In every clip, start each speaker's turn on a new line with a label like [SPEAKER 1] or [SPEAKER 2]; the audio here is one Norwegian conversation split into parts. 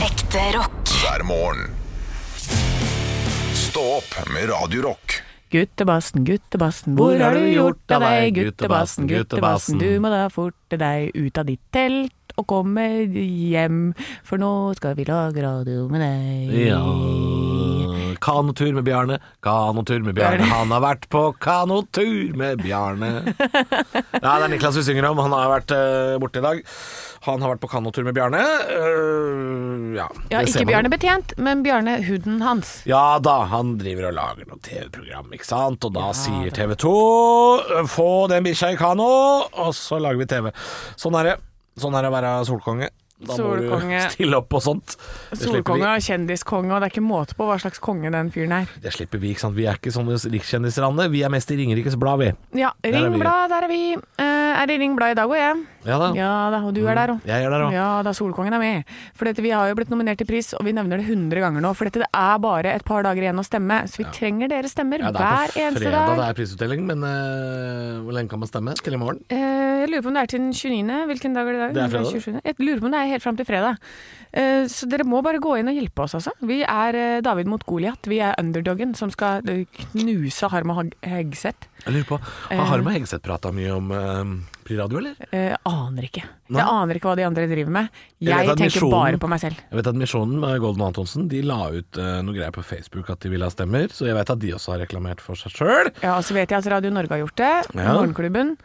[SPEAKER 1] Ekte rock.
[SPEAKER 2] hver morgen. Stå opp med Radio Rock.
[SPEAKER 3] Guttebassen, guttebassen, hvor har du gjort av deg? Guttebassen, guttebassen, du må da forte deg ut av ditt telt og komme hjem, for nå skal vi lage radio med deg.
[SPEAKER 4] Ja Kanotur med Bjarne, kanotur med Bjarne. Han har vært på kanotur med Bjarne. Ja, det er Niklas vi synger om. Han har vært eh, borte i dag. Han har vært på kanotur med Bjarne. Eh, ja,
[SPEAKER 3] Ja,
[SPEAKER 4] det
[SPEAKER 3] ikke
[SPEAKER 4] ser man jo.
[SPEAKER 3] Bjarne Betjent, men Bjarne huden hans.
[SPEAKER 4] Ja da, han driver og lager noe TV-program, ikke sant? Og da sier TV 2 Få den bikkja i kano, og så lager vi TV. Sånn er det. Sånn er det å være solkonge. Da må
[SPEAKER 3] Solkonge.
[SPEAKER 4] du stille opp og sånt. Det slipper,
[SPEAKER 3] Solkonge og kjendiskonge, og det er ikke måte på hva slags konge den fyren er.
[SPEAKER 4] vi. det slipper vi, ikke sant. Vi er ikke sånne rikskjendiser, Anne. Vi er mest i Ringerikes Blad, vi.
[SPEAKER 3] Ja,
[SPEAKER 4] er vi.
[SPEAKER 3] Ringblad, der er vi. Eh, er det Ringbladet i dag òg, jeg?
[SPEAKER 4] Ja da.
[SPEAKER 3] Ja da, og du er der òg.
[SPEAKER 4] Jeg er der òg.
[SPEAKER 3] Ja da, Solkongen er med. For dette, vi har jo blitt nominert til pris, og vi nevner det 100 ganger nå. For dette, det er bare et par dager igjen å stemme, så vi trenger deres stemmer
[SPEAKER 4] Ja, det er
[SPEAKER 3] hver
[SPEAKER 4] på
[SPEAKER 3] eneste
[SPEAKER 4] fredag
[SPEAKER 3] dag.
[SPEAKER 4] det er prisutdeling, men eh, hvor lenge kan man stemme? Til i morgen?
[SPEAKER 3] Eh, jeg lurer på om det er til den 29. Hvilken dag er det i dag?
[SPEAKER 4] Det er fredag.
[SPEAKER 3] 27.. Jeg lurer på om det er helt fram til fredag. Eh, så dere må bare gå inn og hjelpe oss, altså. Vi er eh, David mot Goliat. Vi er underdoggen som skal eh, knuse Harma Hag- Hegseth.
[SPEAKER 4] Jeg lurer på, Har Harma Hegseth prata mye om uh, priradio, eller?
[SPEAKER 3] Eh, aner ikke.
[SPEAKER 4] Nei.
[SPEAKER 3] Jeg aner ikke hva de andre driver med.
[SPEAKER 4] Jeg vet
[SPEAKER 3] Jeg
[SPEAKER 4] at
[SPEAKER 3] tenker
[SPEAKER 4] Misjonen-
[SPEAKER 3] bare på meg selv.
[SPEAKER 4] Jeg vet at Misjonen med Golden Antonsen De la ut eh, noe greier på Facebook at de ville ha stemmer, så jeg vet at de også har reklamert for seg sjøl.
[SPEAKER 3] Ja, og så vet jeg at Radio Norge har gjort det.
[SPEAKER 4] Ja.
[SPEAKER 3] Morgenklubben.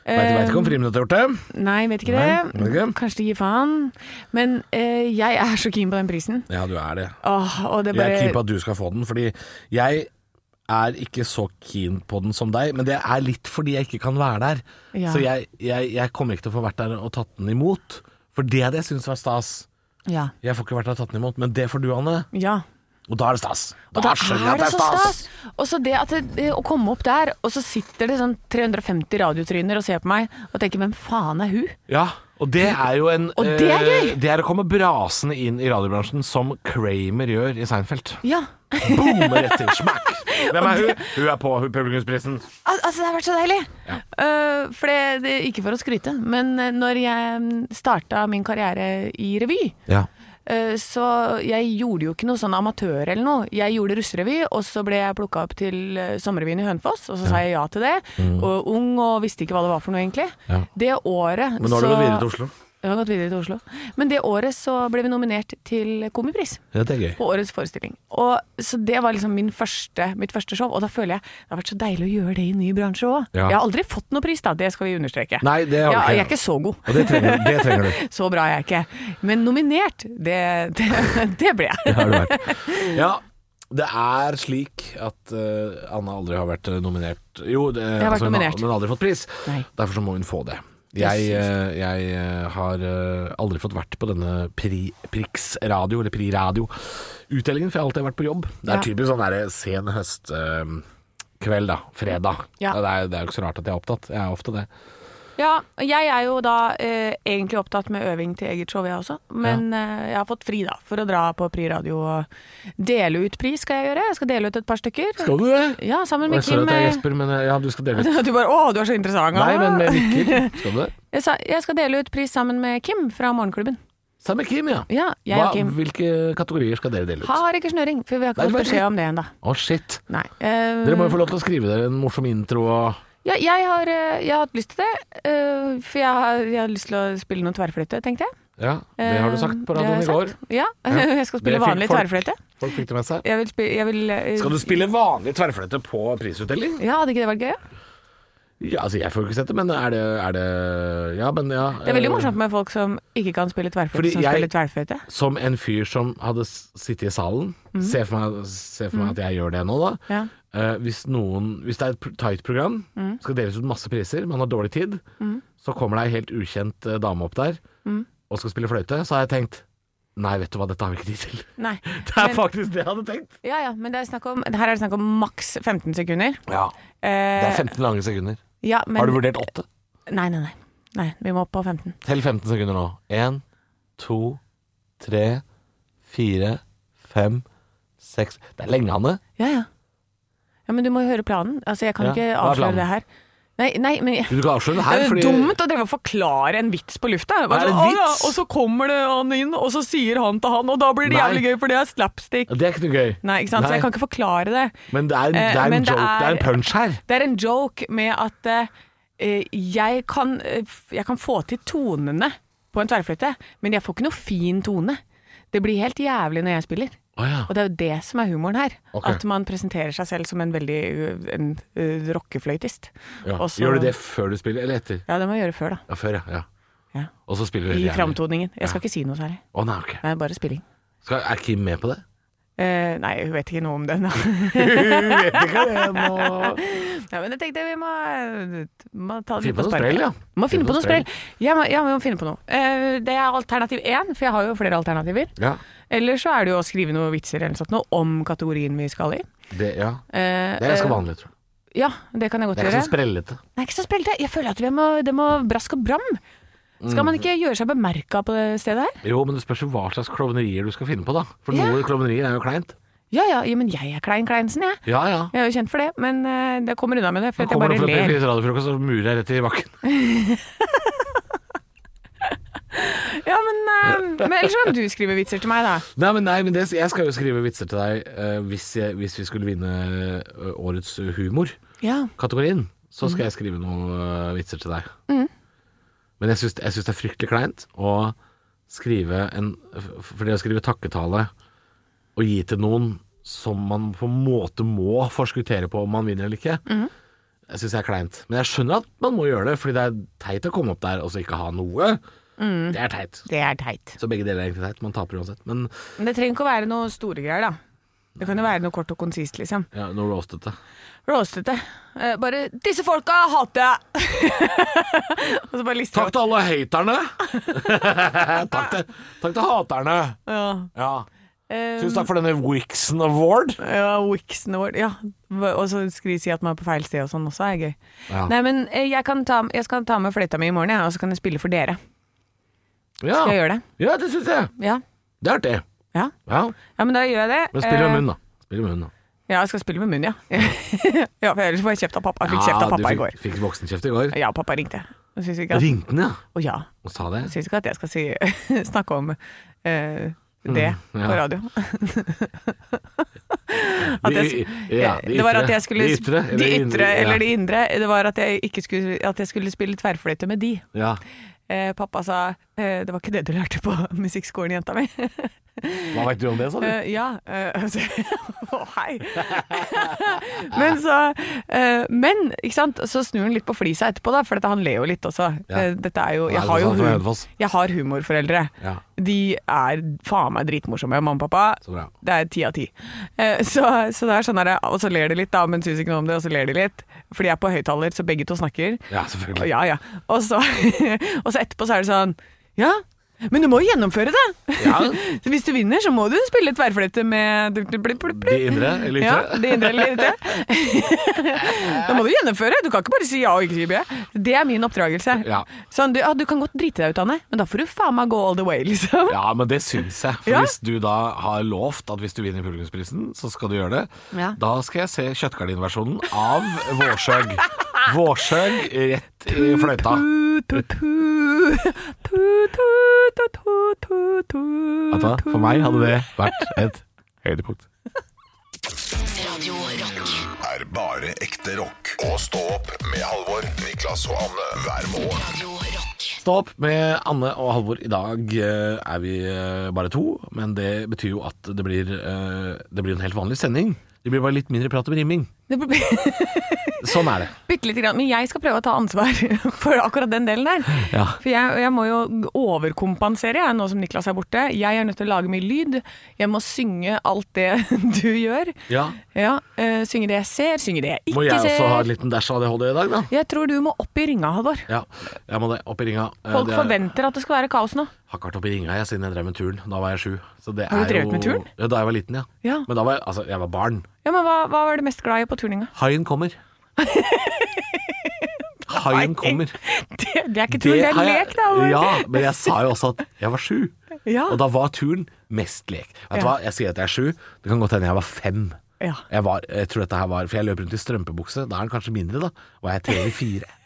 [SPEAKER 4] Veit
[SPEAKER 3] Eh.
[SPEAKER 4] ikke om Friminutt har gjort det.
[SPEAKER 3] Nei, vet ikke
[SPEAKER 4] Nei,
[SPEAKER 3] det.
[SPEAKER 4] vet ikke.
[SPEAKER 3] Kanskje de gir faen. Men eh, jeg er så keen på den prisen.
[SPEAKER 4] Ja, du er det.
[SPEAKER 3] Åh, og det
[SPEAKER 4] Jeg er keen på
[SPEAKER 3] bare
[SPEAKER 4] at du skal få den, fordi jeg er ikke så keen på den som deg, men det er litt fordi jeg ikke kan være der.
[SPEAKER 3] Ja.
[SPEAKER 4] Så jeg, jeg, jeg kommer ikke til å få vært der og tatt den imot. For det hadde jeg syntes var stas.
[SPEAKER 3] ja.
[SPEAKER 4] Jeg får ikke vært der og tatt den imot, men det får du, Anne.
[SPEAKER 3] ja.
[SPEAKER 4] Og da er det stas.
[SPEAKER 3] Og da er det så stas! Og så det at det, det å komme opp der, og så sitter det sånn 350 radiotryner og ser på meg og tenker 'hvem faen er hun?'
[SPEAKER 4] Ja, og det er jo en
[SPEAKER 3] Og det er
[SPEAKER 4] eh,
[SPEAKER 3] gøy!
[SPEAKER 4] Det er å komme brasende inn i radiobransjen som Kramer gjør i Seinfeld.
[SPEAKER 3] Ja.
[SPEAKER 4] Boom! Rett til smack! Hvem er hun? Hun er på hun- publikumsprisen.
[SPEAKER 3] Al altså, det har vært så deilig! Eh, for det, det, ikke for å skryte, men eh, når jeg starta min karriere i revy,
[SPEAKER 4] Ja.
[SPEAKER 3] Eh, Så jeg gjorde jo ikke noe sånn amatør eller noe. Jeg gjorde russerevy, og så ble jeg plukka opp til eh, sommerrevyen i Hønefoss, og så sa jeg ja til det. Og ung og visste ikke hva det var for noe, egentlig.
[SPEAKER 4] Mm. Ja.
[SPEAKER 3] Det året
[SPEAKER 4] Men nå har du
[SPEAKER 3] så-
[SPEAKER 4] gått videre til Oslo.
[SPEAKER 3] Jeg har gått videre til Oslo. Men det året så ble vi nominert til Komipris
[SPEAKER 4] Ja, det er gøy.
[SPEAKER 3] på årets forestilling. Og, så det var liksom min første, mitt første show, og da føler jeg det har vært så deilig å gjøre det i en ny bransje òg.
[SPEAKER 4] Ja.
[SPEAKER 3] Jeg har aldri fått noe pris, da, det skal vi understreke.
[SPEAKER 4] Nei, det har du
[SPEAKER 3] ja,
[SPEAKER 4] ikke.
[SPEAKER 3] jeg er ikke så god.
[SPEAKER 4] Og det trenger, det trenger du.
[SPEAKER 3] Så bra er jeg ikke. Men nominert, det, det, det ble jeg.
[SPEAKER 4] Det har du vært. Ja. Det er slik at eh, Anna aldri har vært eh, nominert Jo, det, altså,
[SPEAKER 3] Jeg har vært
[SPEAKER 4] hun har-
[SPEAKER 3] nominert.
[SPEAKER 4] men aldri fått pris.
[SPEAKER 3] Nei.
[SPEAKER 4] Derfor så må hun få det. Jeg, eh, jeg eh, har eh, aldri fått vært på denne pri, Prix radio, eller Pri radio-utdelingen, for jeg har alltid vært på jobb. Det
[SPEAKER 3] Ja.
[SPEAKER 4] er typisk sånn derre sen høstkveld, kveld da. Fredag.
[SPEAKER 3] Ja.
[SPEAKER 4] Det, er, det er jo ikke så rart at jeg er opptatt. Jeg er ofte det.
[SPEAKER 3] Ja, og jeg er jo da eh, egentlig opptatt med øving til eget show, jeg også. Men eh, jeg har fått fri, da, for å dra på Pri Radio og dele ut pris skal jeg gjøre. Jeg skal dele ut et par stykker.
[SPEAKER 4] Skal du det?
[SPEAKER 3] Ja, sammen
[SPEAKER 4] Jeg
[SPEAKER 3] med
[SPEAKER 4] ser
[SPEAKER 3] Kim.
[SPEAKER 4] at det er
[SPEAKER 3] eh,
[SPEAKER 4] Jesper, men eh, ja, du skal dele ut.
[SPEAKER 3] Du bare 'Å, du er så interessant'.
[SPEAKER 4] Nei,
[SPEAKER 3] ah».
[SPEAKER 4] men med Mikkel. Skal du det?
[SPEAKER 3] jeg, sa, jeg skal dele ut pris sammen med Kim fra Morgenklubben.
[SPEAKER 4] Sammen med Kim, ja.
[SPEAKER 3] Ja, jeg
[SPEAKER 4] Hva,
[SPEAKER 3] og Kim.
[SPEAKER 4] Hvilke kategorier skal dere dele ut? Å,
[SPEAKER 3] Har ikke snøring, for vi har
[SPEAKER 4] Nei,
[SPEAKER 3] ikke
[SPEAKER 4] det
[SPEAKER 3] fått
[SPEAKER 4] var
[SPEAKER 3] beskjed om det ennå.
[SPEAKER 4] shit.
[SPEAKER 3] Nei. eh,
[SPEAKER 4] Dere må jo få lov til å skrive dere en morsom intro og
[SPEAKER 3] Ja, jeg har, eh, jeg har hatt lyst til det. eh, For jeg har, jeg har lyst til å spille noe tverrfløyte, tenkte jeg.
[SPEAKER 4] Ja, det har du sagt
[SPEAKER 3] Eh,
[SPEAKER 4] på
[SPEAKER 3] det har
[SPEAKER 4] radioen i
[SPEAKER 3] jeg
[SPEAKER 4] går.
[SPEAKER 3] sagt. Ja,
[SPEAKER 4] Ja.
[SPEAKER 3] jeg skal spille
[SPEAKER 4] Det fikk
[SPEAKER 3] vanlig
[SPEAKER 4] folk.
[SPEAKER 3] tverrfløyte.
[SPEAKER 4] Folk fikk det med seg.
[SPEAKER 3] Jeg vil spille, jeg vil, eh,
[SPEAKER 4] Skal du spille vanlig tverrfløyte på prisutdeling?
[SPEAKER 3] Ja, hadde ikke det vært gøy? ja?
[SPEAKER 4] Ja, altså jeg får jo ikke sett det, men er det, er det Ja, men ja.
[SPEAKER 3] Det er veldig
[SPEAKER 4] eh,
[SPEAKER 3] morsomt med folk som ikke kan spille
[SPEAKER 4] Fordi
[SPEAKER 3] tverrfløyte, som
[SPEAKER 4] jeg-
[SPEAKER 3] spiller tverrfløyte.
[SPEAKER 4] Som en fyr som hadde s- sittet i salen.
[SPEAKER 3] Mm.
[SPEAKER 4] Se for meg, se for meg at jeg gjør det nå, da.
[SPEAKER 3] Ja.
[SPEAKER 4] Eh, hvis, noen, hvis det er et pr- tight program,
[SPEAKER 3] Mm.
[SPEAKER 4] skal deles ut masse priser, man har dårlig tid, så kommer det ei helt ukjent eh, dame opp der
[SPEAKER 3] Mm.
[SPEAKER 4] og skal spille fløyte, så har jeg tenkt Nei, vet du hva, dette har vi ikke tid til.
[SPEAKER 3] Nei.
[SPEAKER 4] Det er
[SPEAKER 3] Men-
[SPEAKER 4] faktisk det jeg hadde tenkt.
[SPEAKER 3] Ja ja, men det er snakk om, her er det snakk om maks 15 sekunder.
[SPEAKER 4] Ja, Det
[SPEAKER 3] Eh,
[SPEAKER 4] er 15 lange sekunder.
[SPEAKER 3] ja, men,
[SPEAKER 4] Har du vurdert 8?
[SPEAKER 3] Nei, nei, nei. Nei, Vi må opp på 15.
[SPEAKER 4] Tell 15 sekunder nå. 1, 2, 3, 4, 5, 6 Det er lenge, Hanne.
[SPEAKER 3] Ja ja. Ja, Men du må jo høre planen. Altså, Jeg kan
[SPEAKER 4] Ja,
[SPEAKER 3] ikke
[SPEAKER 4] hva er
[SPEAKER 3] avsløre
[SPEAKER 4] planen?
[SPEAKER 3] det her. Nei, nei, men
[SPEAKER 4] Du kan avsløre det her,
[SPEAKER 3] det er
[SPEAKER 4] fordi
[SPEAKER 3] dumt å drive og forklare en vits på lufta. Bare
[SPEAKER 4] Er det
[SPEAKER 3] sånn, «Å
[SPEAKER 4] en
[SPEAKER 3] ja»,
[SPEAKER 4] vits?
[SPEAKER 3] Og så kommer det han inn, og så sier han til han, og da blir det
[SPEAKER 4] Nei.
[SPEAKER 3] jævlig gøy, for det er slapstick.
[SPEAKER 4] Det er ikke noe gøy.
[SPEAKER 3] Nei, ikke sant? Så
[SPEAKER 4] Nei.
[SPEAKER 3] jeg kan ikke forklare det.
[SPEAKER 4] Men det er en,
[SPEAKER 3] Eh,
[SPEAKER 4] det er
[SPEAKER 3] men
[SPEAKER 4] en
[SPEAKER 3] det
[SPEAKER 4] joke, det er
[SPEAKER 3] er-
[SPEAKER 4] en punch her.
[SPEAKER 3] Det er en joke med at eh, eh, jeg, kan, eh, f- jeg kan få til tonene på en tverrfløyte, men jeg får ikke noe fin tone. Det blir helt jævlig når jeg spiller.
[SPEAKER 4] Å ja.
[SPEAKER 3] Og det er jo det som er humoren her.
[SPEAKER 4] Ok.
[SPEAKER 3] At man presenterer seg selv som en veldig uh, en, uh, rockefløytist.
[SPEAKER 4] Ja.
[SPEAKER 3] Og så-
[SPEAKER 4] Gjør du det før du spiller, eller etter?
[SPEAKER 3] Ja, det må jeg gjøre før, da.
[SPEAKER 4] Ja, før, ja. ja.
[SPEAKER 3] Ja.
[SPEAKER 4] Og så spiller du
[SPEAKER 3] I
[SPEAKER 4] veldig gjerne.
[SPEAKER 3] framtoningen. Jeg skal ikke si noe særlig.
[SPEAKER 4] Å nei, ok.
[SPEAKER 3] Det er bare spilling.
[SPEAKER 4] Skal, er Kim med på det?
[SPEAKER 3] Eh, nei, hun vet ikke noe om den. Nei,
[SPEAKER 4] Hun vet ikke det nå.
[SPEAKER 3] men jeg tenkte vi må, må ta det
[SPEAKER 4] Finne
[SPEAKER 3] litt på
[SPEAKER 4] på noe
[SPEAKER 3] sparket.
[SPEAKER 4] sprell, ja.
[SPEAKER 3] Må finne på noe sprell. Jeg må, ja, vi må finne på noe. Eh, det er alternativ én, for jeg har jo flere alternativer.
[SPEAKER 4] Ja.
[SPEAKER 3] Eller så er det jo å skrive noen vitser eller noe sånt, noe om kategorien vi skal i.
[SPEAKER 4] Det, ja.
[SPEAKER 3] Eh,
[SPEAKER 4] det er ganske
[SPEAKER 3] eh,
[SPEAKER 4] vanlig, tror jeg.
[SPEAKER 3] Ja, det kan jeg godt
[SPEAKER 4] Det er
[SPEAKER 3] gjøre.
[SPEAKER 4] ikke så sprellete.
[SPEAKER 3] Nei, ikke så sprellete. Jeg føler at vi må, det må brask og bram. Skal
[SPEAKER 4] Mm.
[SPEAKER 3] man ikke gjøre seg bemerka på det stedet her?
[SPEAKER 4] Jo, men det spørs jo hva slags klovnerier du skal finne på, da. For
[SPEAKER 3] Ja.
[SPEAKER 4] noen klovnerier er jo kleint.
[SPEAKER 3] Ja ja, ja men jeg er Klein Kleinsen, jeg.
[SPEAKER 4] Ja, ja.
[SPEAKER 3] Jeg er jo kjent for det, men eh, jeg kommer unna med det. For
[SPEAKER 4] Nå
[SPEAKER 3] at jeg
[SPEAKER 4] kommer det
[SPEAKER 3] bare ler.
[SPEAKER 4] fra P4s radiofrokost og murer jeg rett i bakken.
[SPEAKER 3] Ja, men, eh, men ellers kan du skrive vitser til meg, da.
[SPEAKER 4] Nei, men, nei, men det, jeg skal jo skrive vitser til deg eh, hvis, jeg, hvis vi skulle vinne eh, årets humor-kategorien.
[SPEAKER 3] Ja.
[SPEAKER 4] Så skal jeg skrive noen eh, vitser til deg. Men jeg syns, jeg syns det er fryktelig kleint å skrive en f- For det å skrive takketale og gi til noen som man på en måte må forskuttere på om man vinner eller ikke, jeg syns jeg er kleint. Men jeg skjønner at man må gjøre det, fordi det er teit å komme opp der og så ikke ha noe. Det er teit.
[SPEAKER 3] Det er teit.
[SPEAKER 4] Så begge deler er egentlig teit. Man taper uansett. Men
[SPEAKER 3] Men det trenger ikke å være noe store greier, da. Det kan jo være noe kort og konsist, liksom.
[SPEAKER 4] ja, noe roastete.
[SPEAKER 3] Roastete. Eh, bare 'Disse folka hater jeg'! og så bare lister jeg
[SPEAKER 4] Takk
[SPEAKER 3] opp.
[SPEAKER 4] til alle haterne! takk, til, takk til haterne.
[SPEAKER 3] Ja.
[SPEAKER 4] Ja.
[SPEAKER 3] Eh,
[SPEAKER 4] Tusen takk for denne Wixon Award.
[SPEAKER 3] Ja, Wixen Award. Ja. Og så skri si at man er på feil sted og sånn også, er gøy.
[SPEAKER 4] Ja.
[SPEAKER 3] Nei, men eh, jeg, kan ta, jeg skal ta med fløyta mi i morgen, jeg, og så kan jeg spille for dere.
[SPEAKER 4] Ja,
[SPEAKER 3] Skal jeg gjøre det?
[SPEAKER 4] ja det syns jeg.
[SPEAKER 3] Ja.
[SPEAKER 4] Det er artig.
[SPEAKER 3] Ja,
[SPEAKER 4] Ja.
[SPEAKER 3] ja men da gjør jeg det.
[SPEAKER 4] Men spill med
[SPEAKER 3] Eh,
[SPEAKER 4] munnen, da. Spill med munnen, da.
[SPEAKER 3] Ja, jeg skal spille med munn, ja. ja, for ellers får jeg kjeft av pappa. Jeg fikk kjeft av
[SPEAKER 4] Ja, du
[SPEAKER 3] pappa i
[SPEAKER 4] fikk-
[SPEAKER 3] går.
[SPEAKER 4] Fikk voksenkjeft i går.
[SPEAKER 3] Ja, pappa ringte. Han syns ikke at,
[SPEAKER 4] Ringte den, ja.
[SPEAKER 3] Å ja.
[SPEAKER 4] Og sa det.
[SPEAKER 3] Han syns ikke at jeg skal si, snakke om eh, det
[SPEAKER 4] Mm, ja.
[SPEAKER 3] på radio. At jeg
[SPEAKER 4] De,
[SPEAKER 3] s- eh,
[SPEAKER 4] ja, de
[SPEAKER 3] det var at
[SPEAKER 4] ytre.
[SPEAKER 3] jeg skulle
[SPEAKER 4] De
[SPEAKER 3] sp-
[SPEAKER 4] ytre,
[SPEAKER 3] de
[SPEAKER 4] eller
[SPEAKER 3] ytre
[SPEAKER 4] ja.
[SPEAKER 3] eller de indre. Det var at jeg, ikke skulle, at jeg skulle spille tverrfløyte med de.
[SPEAKER 4] ja.
[SPEAKER 3] Eh, pappa sa eh, det var ikke det du lærte på musikkskolen, jenta mi.
[SPEAKER 4] Hva veit du om det, sa du?
[SPEAKER 3] Eh, ja. eh, så- Å, hei. men så eh, Men, ikke sant, så snur han litt på flisa etterpå, da, for dette, han ler jo litt også.
[SPEAKER 4] Ja.
[SPEAKER 3] Eh, Dette er jo
[SPEAKER 4] Hva er
[SPEAKER 3] Jeg
[SPEAKER 4] det
[SPEAKER 3] har jo
[SPEAKER 4] som er fra
[SPEAKER 3] hum-
[SPEAKER 4] Hønefoss?
[SPEAKER 3] jeg har humorforeldre.
[SPEAKER 4] Ja.
[SPEAKER 3] De er faen meg dritmorsomme, mamma og pappa.
[SPEAKER 4] Så bra.
[SPEAKER 3] Det er ti av ti. Eh, Så, så det er sånn der, og så ler de litt, da, men syns ikke noe om det, og så ler de litt. For de er på høyttaler, så begge to snakker.
[SPEAKER 4] Ja, selvfølgelig.
[SPEAKER 3] Ja, ja. Og så, og så etterpå så er det sånn Ja, men du må jo gjennomføre det!
[SPEAKER 4] Ja.
[SPEAKER 3] Så hvis du vinner, så må du spille tverrfløyte med De
[SPEAKER 4] De indre eller
[SPEAKER 3] Ja,
[SPEAKER 4] ytre?
[SPEAKER 3] de indre eller ytre. Da må du gjennomføre! Du kan ikke bare si ja og ikke si B. Det er min oppdragelse.
[SPEAKER 4] Ja.
[SPEAKER 3] Sånn, du, ja, du kan godt drite deg ut, Anne, men da får du faen meg gå all the way, liksom.
[SPEAKER 4] Ja, men det syns jeg. For
[SPEAKER 3] Ja.
[SPEAKER 4] hvis du da har lovt at hvis du vinner publikumsprisen, så skal du gjøre det.
[SPEAKER 3] Ja.
[SPEAKER 4] Da skal jeg se kjøttgardinversjonen av Vårsøg. Vårsøg rett i fløyta. Vet du hva? For meg hadde det vært et høydepunkt.
[SPEAKER 2] er bare ekte rock. Og stå opp med Halvor, Niklas og Anne hver morgen.
[SPEAKER 4] Stå opp med Anne og Halvor. I dag eh, er vi eh, bare to, men det betyr jo at det blir, eh, det blir en helt vanlig sending. Det blir bare litt mindre prat om rimming. Sånn er det.
[SPEAKER 3] Bitte lite grann. Men jeg skal prøve å ta ansvar for akkurat den delen der.
[SPEAKER 4] Ja.
[SPEAKER 3] For jeg, jeg må jo overkompensere, jeg, nå som Niklas er borte. Jeg er nødt til å lage mye lyd. Jeg må synge alt det du gjør.
[SPEAKER 4] Ja.
[SPEAKER 3] Ja, eh, synge det jeg ser, synge det jeg
[SPEAKER 4] Må
[SPEAKER 3] ikke
[SPEAKER 4] jeg
[SPEAKER 3] ser.
[SPEAKER 4] også ha en liten dash ADHD i dag, da?
[SPEAKER 3] Jeg tror du må opp i ringa, Halvor.
[SPEAKER 4] Ja, jeg må det. Opp i ringa. Eh,
[SPEAKER 3] Folk
[SPEAKER 4] det er-
[SPEAKER 3] forventer at det skal være kaos nå.
[SPEAKER 4] Har ikke vært oppe i ringa jeg siden jeg drev med turn. Da var jeg sju. Så det
[SPEAKER 3] Har du
[SPEAKER 4] er
[SPEAKER 3] drevet
[SPEAKER 4] jo-
[SPEAKER 3] med turn?
[SPEAKER 4] Ja, da jeg var liten, ja.
[SPEAKER 3] Ja.
[SPEAKER 4] Men da var jeg, altså, jeg var barn.
[SPEAKER 3] Ja, men hva, hva var du mest glad i på turninga?
[SPEAKER 4] Haien kommer. Haien kommer.
[SPEAKER 3] Det, det er ikke turn, det er
[SPEAKER 4] har jeg-
[SPEAKER 3] lek, da. Halvor.
[SPEAKER 4] Ja, men jeg sa jo også at jeg var sju.
[SPEAKER 3] Ja.
[SPEAKER 4] Og da var turn mest lek. Vet du
[SPEAKER 3] Ja.
[SPEAKER 4] hva, jeg sier at jeg er sju. Det kan godt hende jeg var fem.
[SPEAKER 3] Ja.
[SPEAKER 4] Jeg, var, jeg tror dette her var For jeg løp rundt i strømpebukse. Da er den kanskje mindre, da. Og jeg er TV4.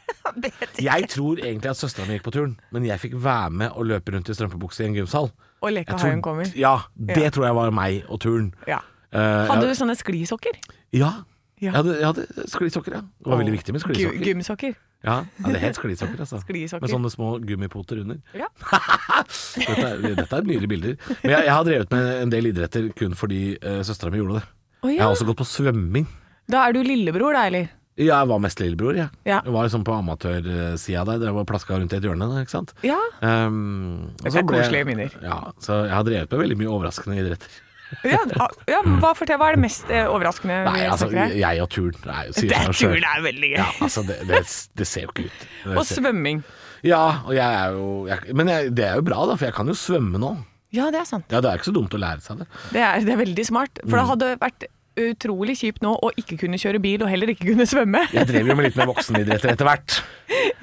[SPEAKER 4] Jeg tror egentlig at søstera mi gikk på turen, men jeg fikk være med og løpe rundt i strømpebukse i en gymsal.
[SPEAKER 3] Og leke
[SPEAKER 4] Jeg
[SPEAKER 3] haion kommer.
[SPEAKER 4] Ja, det
[SPEAKER 3] Ja.
[SPEAKER 4] tror jeg var meg og turen.
[SPEAKER 3] Ja.
[SPEAKER 4] Eh,
[SPEAKER 3] Hadde
[SPEAKER 4] jeg-
[SPEAKER 3] du sånne sklisokker?
[SPEAKER 4] Ja.
[SPEAKER 3] Ja.
[SPEAKER 4] Jeg hadde, jeg hadde sklisokker, ja. Det var veldig viktig med
[SPEAKER 3] Gu-
[SPEAKER 4] sklisokker.
[SPEAKER 3] Gymsokker.
[SPEAKER 4] Ja, ja det het sklisokker, altså.
[SPEAKER 3] Sklisokker.
[SPEAKER 4] Med sånne små gummipoter under.
[SPEAKER 3] Ja.
[SPEAKER 4] Dette er, dette er nydelige bilder. Men jeg, jeg har drevet med en del idretter kun fordi uh, søstera mi gjorde det.
[SPEAKER 3] Å
[SPEAKER 4] Jeg
[SPEAKER 3] ja.
[SPEAKER 4] har også gått på svømming.
[SPEAKER 3] Da er du lillebror, da, eller?
[SPEAKER 4] Ja, jeg var mest lillebror, jeg.
[SPEAKER 3] Ja.
[SPEAKER 4] Jeg var liksom på amatørsida der. Drev og plaska rundt i et hjørne, ikke sant.
[SPEAKER 3] Ja.
[SPEAKER 4] Um, og
[SPEAKER 3] Dette
[SPEAKER 4] så
[SPEAKER 3] er
[SPEAKER 4] ble-
[SPEAKER 3] koselige minner.
[SPEAKER 4] Ja, så jeg har drevet med veldig mye overraskende idretter.
[SPEAKER 3] Ja, ja, ja men hva, fortell, hva er det mest eh, overraskende?
[SPEAKER 4] Nei,
[SPEAKER 3] vi
[SPEAKER 4] altså,
[SPEAKER 3] snakker her?
[SPEAKER 4] jeg og turn. Nei, sier
[SPEAKER 3] det
[SPEAKER 4] seg
[SPEAKER 3] er
[SPEAKER 4] selv.
[SPEAKER 3] turen er veldig gøy.
[SPEAKER 4] Ja, altså, det, det, det ser jo ikke ut. Det
[SPEAKER 3] Og
[SPEAKER 4] ser-
[SPEAKER 3] svømming.
[SPEAKER 4] Ja, og jeg er jo jeg, Men jeg, det er jo bra, da, for jeg kan jo svømme nå.
[SPEAKER 3] Ja, det er sant.
[SPEAKER 4] Ja, Det er ikke så dumt å lære seg det.
[SPEAKER 3] Det er, det er veldig smart. For
[SPEAKER 4] Mm.
[SPEAKER 3] det hadde vært utrolig kjipt nå å ikke kunne kjøre bil og heller ikke kunne svømme.
[SPEAKER 4] Jeg drev jo med litt mer voksenidretter etter hvert.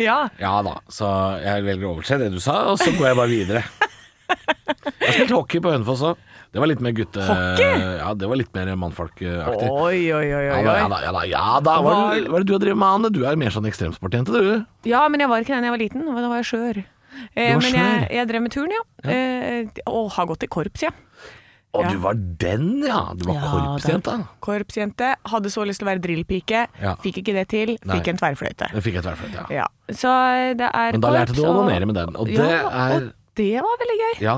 [SPEAKER 3] Ja.
[SPEAKER 4] Ja da, så jeg velger å overse det du sa, og så går jeg bare videre. Jeg har spilt hockey på Hønefoss òg. Det var litt mer gutte...
[SPEAKER 3] Hockey?
[SPEAKER 4] Ja, det var litt mer mannfolkaktig.
[SPEAKER 3] Oi, oi, oi,
[SPEAKER 4] Ja
[SPEAKER 3] oi.
[SPEAKER 4] da, ja
[SPEAKER 3] oi.
[SPEAKER 4] da, ja da, ja da. Hva er det- hva er det du har drevet med, Anne? Du er mer sånn ekstremsportjente, du.
[SPEAKER 3] Ja, men jeg var ikke den jeg var liten, og da var jeg skjør. Eh,
[SPEAKER 4] Du var
[SPEAKER 3] men jeg,
[SPEAKER 4] skjør?
[SPEAKER 3] jeg drev med turn, ja. Eh, og har gått i korps, ja.
[SPEAKER 4] Å,
[SPEAKER 3] Ja.
[SPEAKER 4] du var den, ja. Du var
[SPEAKER 3] Ja,
[SPEAKER 4] korpsjente.
[SPEAKER 3] da. Korpsjente. Hadde så lyst til å være drillpike.
[SPEAKER 4] Ja.
[SPEAKER 3] Fikk ikke det til.
[SPEAKER 4] Nei.
[SPEAKER 3] Fikk en tverrfløyte.
[SPEAKER 4] Det fikk jeg tverrfløyt, ja.
[SPEAKER 3] Ja. Så eh, det er
[SPEAKER 4] Men da lærte du å
[SPEAKER 3] korps, og-
[SPEAKER 4] onanere med den, og det
[SPEAKER 3] ja,
[SPEAKER 4] er-
[SPEAKER 3] og det var veldig gøy.
[SPEAKER 4] Ja.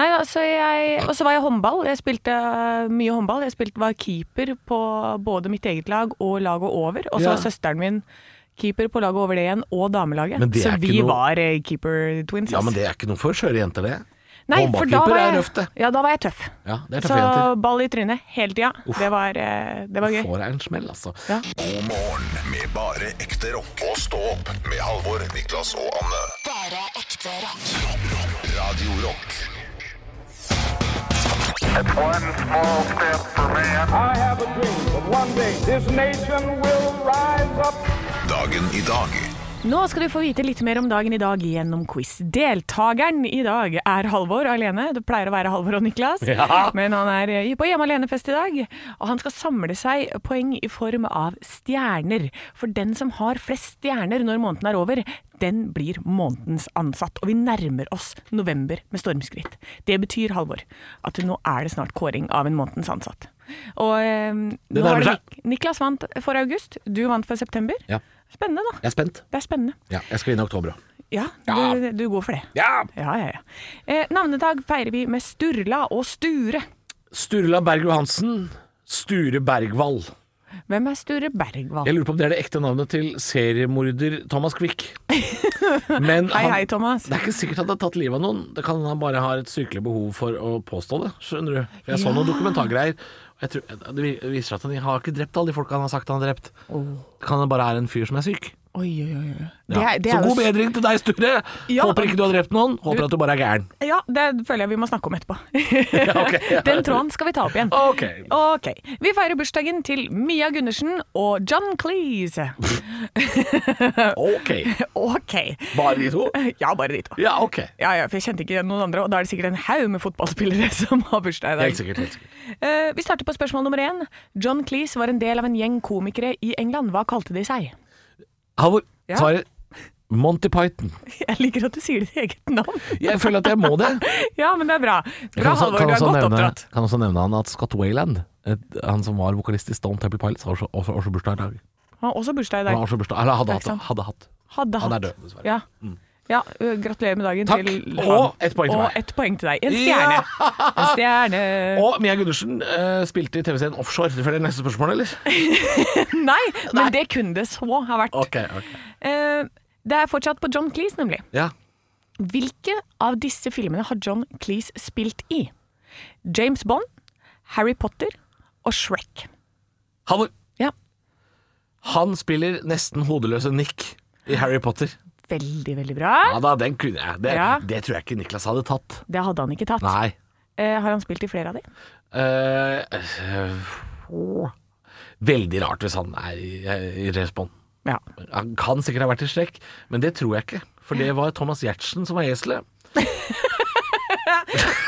[SPEAKER 3] Nei da, så jeg Og så var jeg håndball. Jeg spilte øh, mye håndball. Jeg spilte, var keeper på både mitt eget lag og laget over. Og så
[SPEAKER 4] Ja.
[SPEAKER 3] var søsteren min keeper på laget over det igjen, og damelaget.
[SPEAKER 4] Men det
[SPEAKER 3] Så
[SPEAKER 4] er ikke
[SPEAKER 3] vi
[SPEAKER 4] noe-
[SPEAKER 3] var eh, keeper twins.
[SPEAKER 4] ja,
[SPEAKER 3] ass.
[SPEAKER 4] men det er ikke noe for skjøre jenter, det.
[SPEAKER 3] Nei, for da
[SPEAKER 4] håndballkeeper
[SPEAKER 3] var
[SPEAKER 4] er
[SPEAKER 3] jeg-
[SPEAKER 4] røft, det.
[SPEAKER 3] Ja, da var jeg tøff.
[SPEAKER 4] Ja, det er
[SPEAKER 3] Så
[SPEAKER 4] tøffe jenter.
[SPEAKER 3] ball i trynet hele tida. Det var, eh, det var gøy.
[SPEAKER 4] Får jeg en smell, altså.
[SPEAKER 3] Ja.
[SPEAKER 2] God morgen med bare ekte rock. Og stå opp med Halvor, Niklas og Anne.
[SPEAKER 1] Bare ekte rock.
[SPEAKER 2] Radio Rock.
[SPEAKER 5] It's one small step for man.
[SPEAKER 6] I have a dream that one day this nation will rise up.
[SPEAKER 2] Dagen i dag.
[SPEAKER 3] Nå skal du få vite litt mer om dagen i dag gjennom quiz. Deltakeren i dag er Halvor alene. Det pleier å være Halvor og Niklas, men han er eh, på hjemme alene-fest i dag. Og han skal samle seg poeng i form av stjerner. For den som har flest stjerner når måneden er over, den blir månedens ansatt. Og vi nærmer oss november med stormskritt. Det betyr, Halvor, at nå er det snart kåring av en månedens ansatt. Og eh, nå
[SPEAKER 4] nærmer
[SPEAKER 3] har det
[SPEAKER 4] seg.
[SPEAKER 3] Nik- Niklas vant for august, du vant for september.
[SPEAKER 4] Ja.
[SPEAKER 3] Spennende, da.
[SPEAKER 4] Jeg er spent.
[SPEAKER 3] Det er spennende.
[SPEAKER 4] Ja, jeg skal inn i oktober òg.
[SPEAKER 3] Ja,
[SPEAKER 4] Ja.
[SPEAKER 3] Du, du går for det.
[SPEAKER 4] Ja!
[SPEAKER 3] Ja, ja, ja. Eh, navnedag feirer vi med Sturla og Sture.
[SPEAKER 4] Sturla Berg Johansen. Sture Bergwall.
[SPEAKER 3] Hvem er Sture Bergwall?
[SPEAKER 4] Jeg lurer på om det er det ekte navnet til seriemorder Thomas Quick. Men
[SPEAKER 3] Hei,
[SPEAKER 4] han-
[SPEAKER 3] hei, Thomas.
[SPEAKER 4] Det er ikke sikkert at han har tatt livet av noen. Det kan hende han bare har et sykelig behov for å påstå det. Skjønner du? For jeg så
[SPEAKER 3] Ja.
[SPEAKER 4] noen dokumentargreier. og Jeg tror, det viser seg at han har ikke drept alle de folka han har sagt han har drept. Det kan hende bare er en fyr som er syk.
[SPEAKER 3] Oi, oi, oi. oi. Oh.
[SPEAKER 4] Ja.
[SPEAKER 3] Det er- det er
[SPEAKER 4] så
[SPEAKER 3] jo
[SPEAKER 4] god
[SPEAKER 3] s-
[SPEAKER 4] bedring til deg, Sture.
[SPEAKER 3] Ja.
[SPEAKER 4] Håper ikke du har drept noen. Håper at du bare er gæren.
[SPEAKER 3] Ja, det føler jeg vi må snakke om etterpå.
[SPEAKER 4] ok, ja.
[SPEAKER 3] Den tråden skal vi ta opp igjen.
[SPEAKER 4] Ok.
[SPEAKER 3] Ok. Vi feirer bursdagen til Mia Gundersen og John Cleese.
[SPEAKER 4] Ok.
[SPEAKER 3] Ok.
[SPEAKER 4] Bare de to?
[SPEAKER 3] Ja, bare de to.
[SPEAKER 4] Ja, ok.
[SPEAKER 3] Ja, ja, for jeg kjente ikke noen andre, og da er det sikkert en haug med fotballspillere som har bursdag i dag.
[SPEAKER 4] Helt sikkert. Helt sikkert.
[SPEAKER 3] Eh, vi starter på spørsmål nummer én. John Cleese var en del av en gjeng komikere i England. Hva kalte de seg?
[SPEAKER 4] Halvor,
[SPEAKER 3] Ja.
[SPEAKER 4] svaret Monty Python.
[SPEAKER 3] Jeg liker at du sier ditt eget navn.
[SPEAKER 4] Jeg føler at jeg må det.
[SPEAKER 3] Ja, men det er bra.
[SPEAKER 4] Jeg kan
[SPEAKER 3] Bra,
[SPEAKER 4] også,
[SPEAKER 3] Halvor.
[SPEAKER 4] kan
[SPEAKER 3] Du er
[SPEAKER 4] også
[SPEAKER 3] godt
[SPEAKER 4] nevne,
[SPEAKER 3] oppdratt.
[SPEAKER 4] kan også nevne han at Scott Wayland, et, han som var vokalist i Stone Temple Pilots, har også, også, også bursdag i dag.
[SPEAKER 3] Han har også bursdag i
[SPEAKER 4] Han har
[SPEAKER 3] dag.
[SPEAKER 4] også bursdag, eller hadde
[SPEAKER 3] Det er ikke
[SPEAKER 4] hatt. Hadde hatt.
[SPEAKER 3] Hadde
[SPEAKER 4] Han er
[SPEAKER 3] hatt.
[SPEAKER 4] død, dessverre. Mm.
[SPEAKER 3] Ja. Ja, ø, gratulerer med dagen
[SPEAKER 4] Takk.
[SPEAKER 3] til
[SPEAKER 4] Og ett poeng til
[SPEAKER 3] Og
[SPEAKER 4] meg.
[SPEAKER 3] ett poeng til deg. En stjerne.
[SPEAKER 4] Ja!
[SPEAKER 3] En stjerne.
[SPEAKER 4] Og Mia Gundersen eh, spilte i TV-serien Offshore. Du følger neste spørsmål, eller?
[SPEAKER 3] Nei, men det kunne det så ha vært.
[SPEAKER 4] Ok, ok.
[SPEAKER 3] Eh, det er fortsatt på John Cleese, nemlig.
[SPEAKER 4] Ja.
[SPEAKER 3] Hvilke av disse filmene har John Cleese spilt i? James Bond, Harry Potter og Shrek.
[SPEAKER 4] Halvor,
[SPEAKER 3] Ja,
[SPEAKER 4] han spiller nesten hodeløse Nick i Harry Potter.
[SPEAKER 3] Veldig, veldig bra.
[SPEAKER 4] Ja da, den kunne jeg. Det,
[SPEAKER 3] Ja.
[SPEAKER 4] det tror jeg ikke Niklas hadde tatt.
[SPEAKER 3] Det hadde han ikke tatt.
[SPEAKER 4] Nei.
[SPEAKER 3] Eh, har han spilt i flere av de?
[SPEAKER 4] Eh, eh, åh. veldig rart hvis han er i, i respond.
[SPEAKER 3] Ja.
[SPEAKER 4] Han kan sikkert ha vært i strekk, men det tror jeg ikke. For det var Thomas Giertsen som var eselet.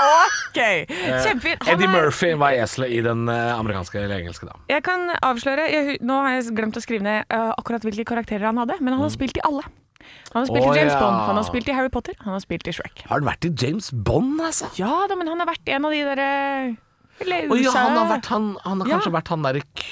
[SPEAKER 3] OK! Kjempefint. Han
[SPEAKER 4] Eh, Eddie
[SPEAKER 3] er-
[SPEAKER 4] Murphy var eselet i den eh, amerikanske eller engelske, da.
[SPEAKER 3] Jeg kan avsløre jeg, hu- Nå har jeg glemt å skrive ned eh, akkurat hvilke karakterer han hadde, men han har spilt i alle. Han har spilt
[SPEAKER 4] Mm. Å,
[SPEAKER 3] i James
[SPEAKER 4] ja.
[SPEAKER 3] Bond, han har spilt i Harry Potter, han har spilt i Shrek.
[SPEAKER 4] Har han vært i James Bond, altså?
[SPEAKER 3] Ja da, men han har vært en av de derre Eller
[SPEAKER 4] Å ja,
[SPEAKER 3] USA.
[SPEAKER 4] han har, vært, han, han har
[SPEAKER 3] Ja.
[SPEAKER 4] kanskje vært han derre Q.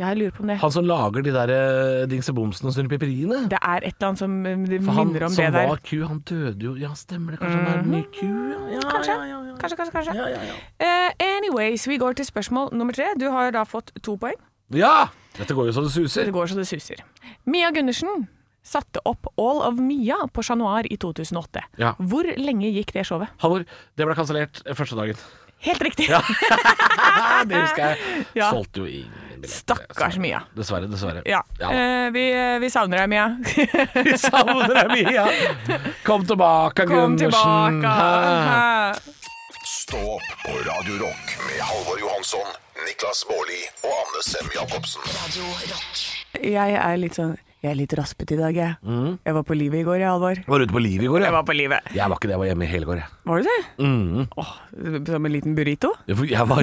[SPEAKER 3] Ja, jeg lurer på om det
[SPEAKER 4] Han som lager de der eh, Dingse Bomsen og Snurrepiperiene.
[SPEAKER 3] Det er et eller annet som eh, det
[SPEAKER 4] For han
[SPEAKER 3] minner om
[SPEAKER 4] som
[SPEAKER 3] det der. Mm.
[SPEAKER 4] var Q, han døde jo Ja, stemmer det. Kanskje han er den nye Q? Ja, ja,
[SPEAKER 3] Kanskje.
[SPEAKER 4] Ja, ja, ja.
[SPEAKER 3] Kanskje, kanskje, kanskje.
[SPEAKER 4] Ja, ja, ja.
[SPEAKER 3] Eh, anyways, vi går til spørsmål nummer tre. Du har da fått to poeng.
[SPEAKER 4] ja! Dette går jo så det
[SPEAKER 3] Det
[SPEAKER 4] suser.
[SPEAKER 3] går så det suser. Mia Gundersen satte opp All of Mia på Chat Noir i 2008.
[SPEAKER 4] Ja.
[SPEAKER 3] Hvor lenge gikk det showet?
[SPEAKER 4] Halvor, det ble kansellert eh, første dagen.
[SPEAKER 3] Helt riktig!
[SPEAKER 4] Ah, det husker jeg.
[SPEAKER 3] Ja.
[SPEAKER 4] Solgte jo ingen billetter.
[SPEAKER 3] Stakkars Mia.
[SPEAKER 4] Dessverre, dessverre.
[SPEAKER 3] Ja.
[SPEAKER 4] da.
[SPEAKER 3] Eh, vi, vi savner deg, Mia.
[SPEAKER 4] Vi savner deg, Mia. Kom tilbake,
[SPEAKER 3] Kom
[SPEAKER 4] Gundersen.
[SPEAKER 3] tilbake.
[SPEAKER 4] Hæ?
[SPEAKER 2] Stå opp på Radio Rock med Halvor Johansson, Niklas Baarli og Anne Sem Jacobsen.
[SPEAKER 3] Jeg er litt sånn Jeg er litt raspete i dag, jeg.
[SPEAKER 4] Mm.
[SPEAKER 3] Jeg var på livet i går, jeg, Alvor.
[SPEAKER 4] Var ute på livet i går,
[SPEAKER 3] Jeg
[SPEAKER 4] jeg.
[SPEAKER 3] var på livet.
[SPEAKER 4] Jeg var ikke det, jeg var hjemme i hele går, jeg. Mm.
[SPEAKER 3] Var du det? Åh, som en liten burrito?
[SPEAKER 4] Jeg var, jeg var,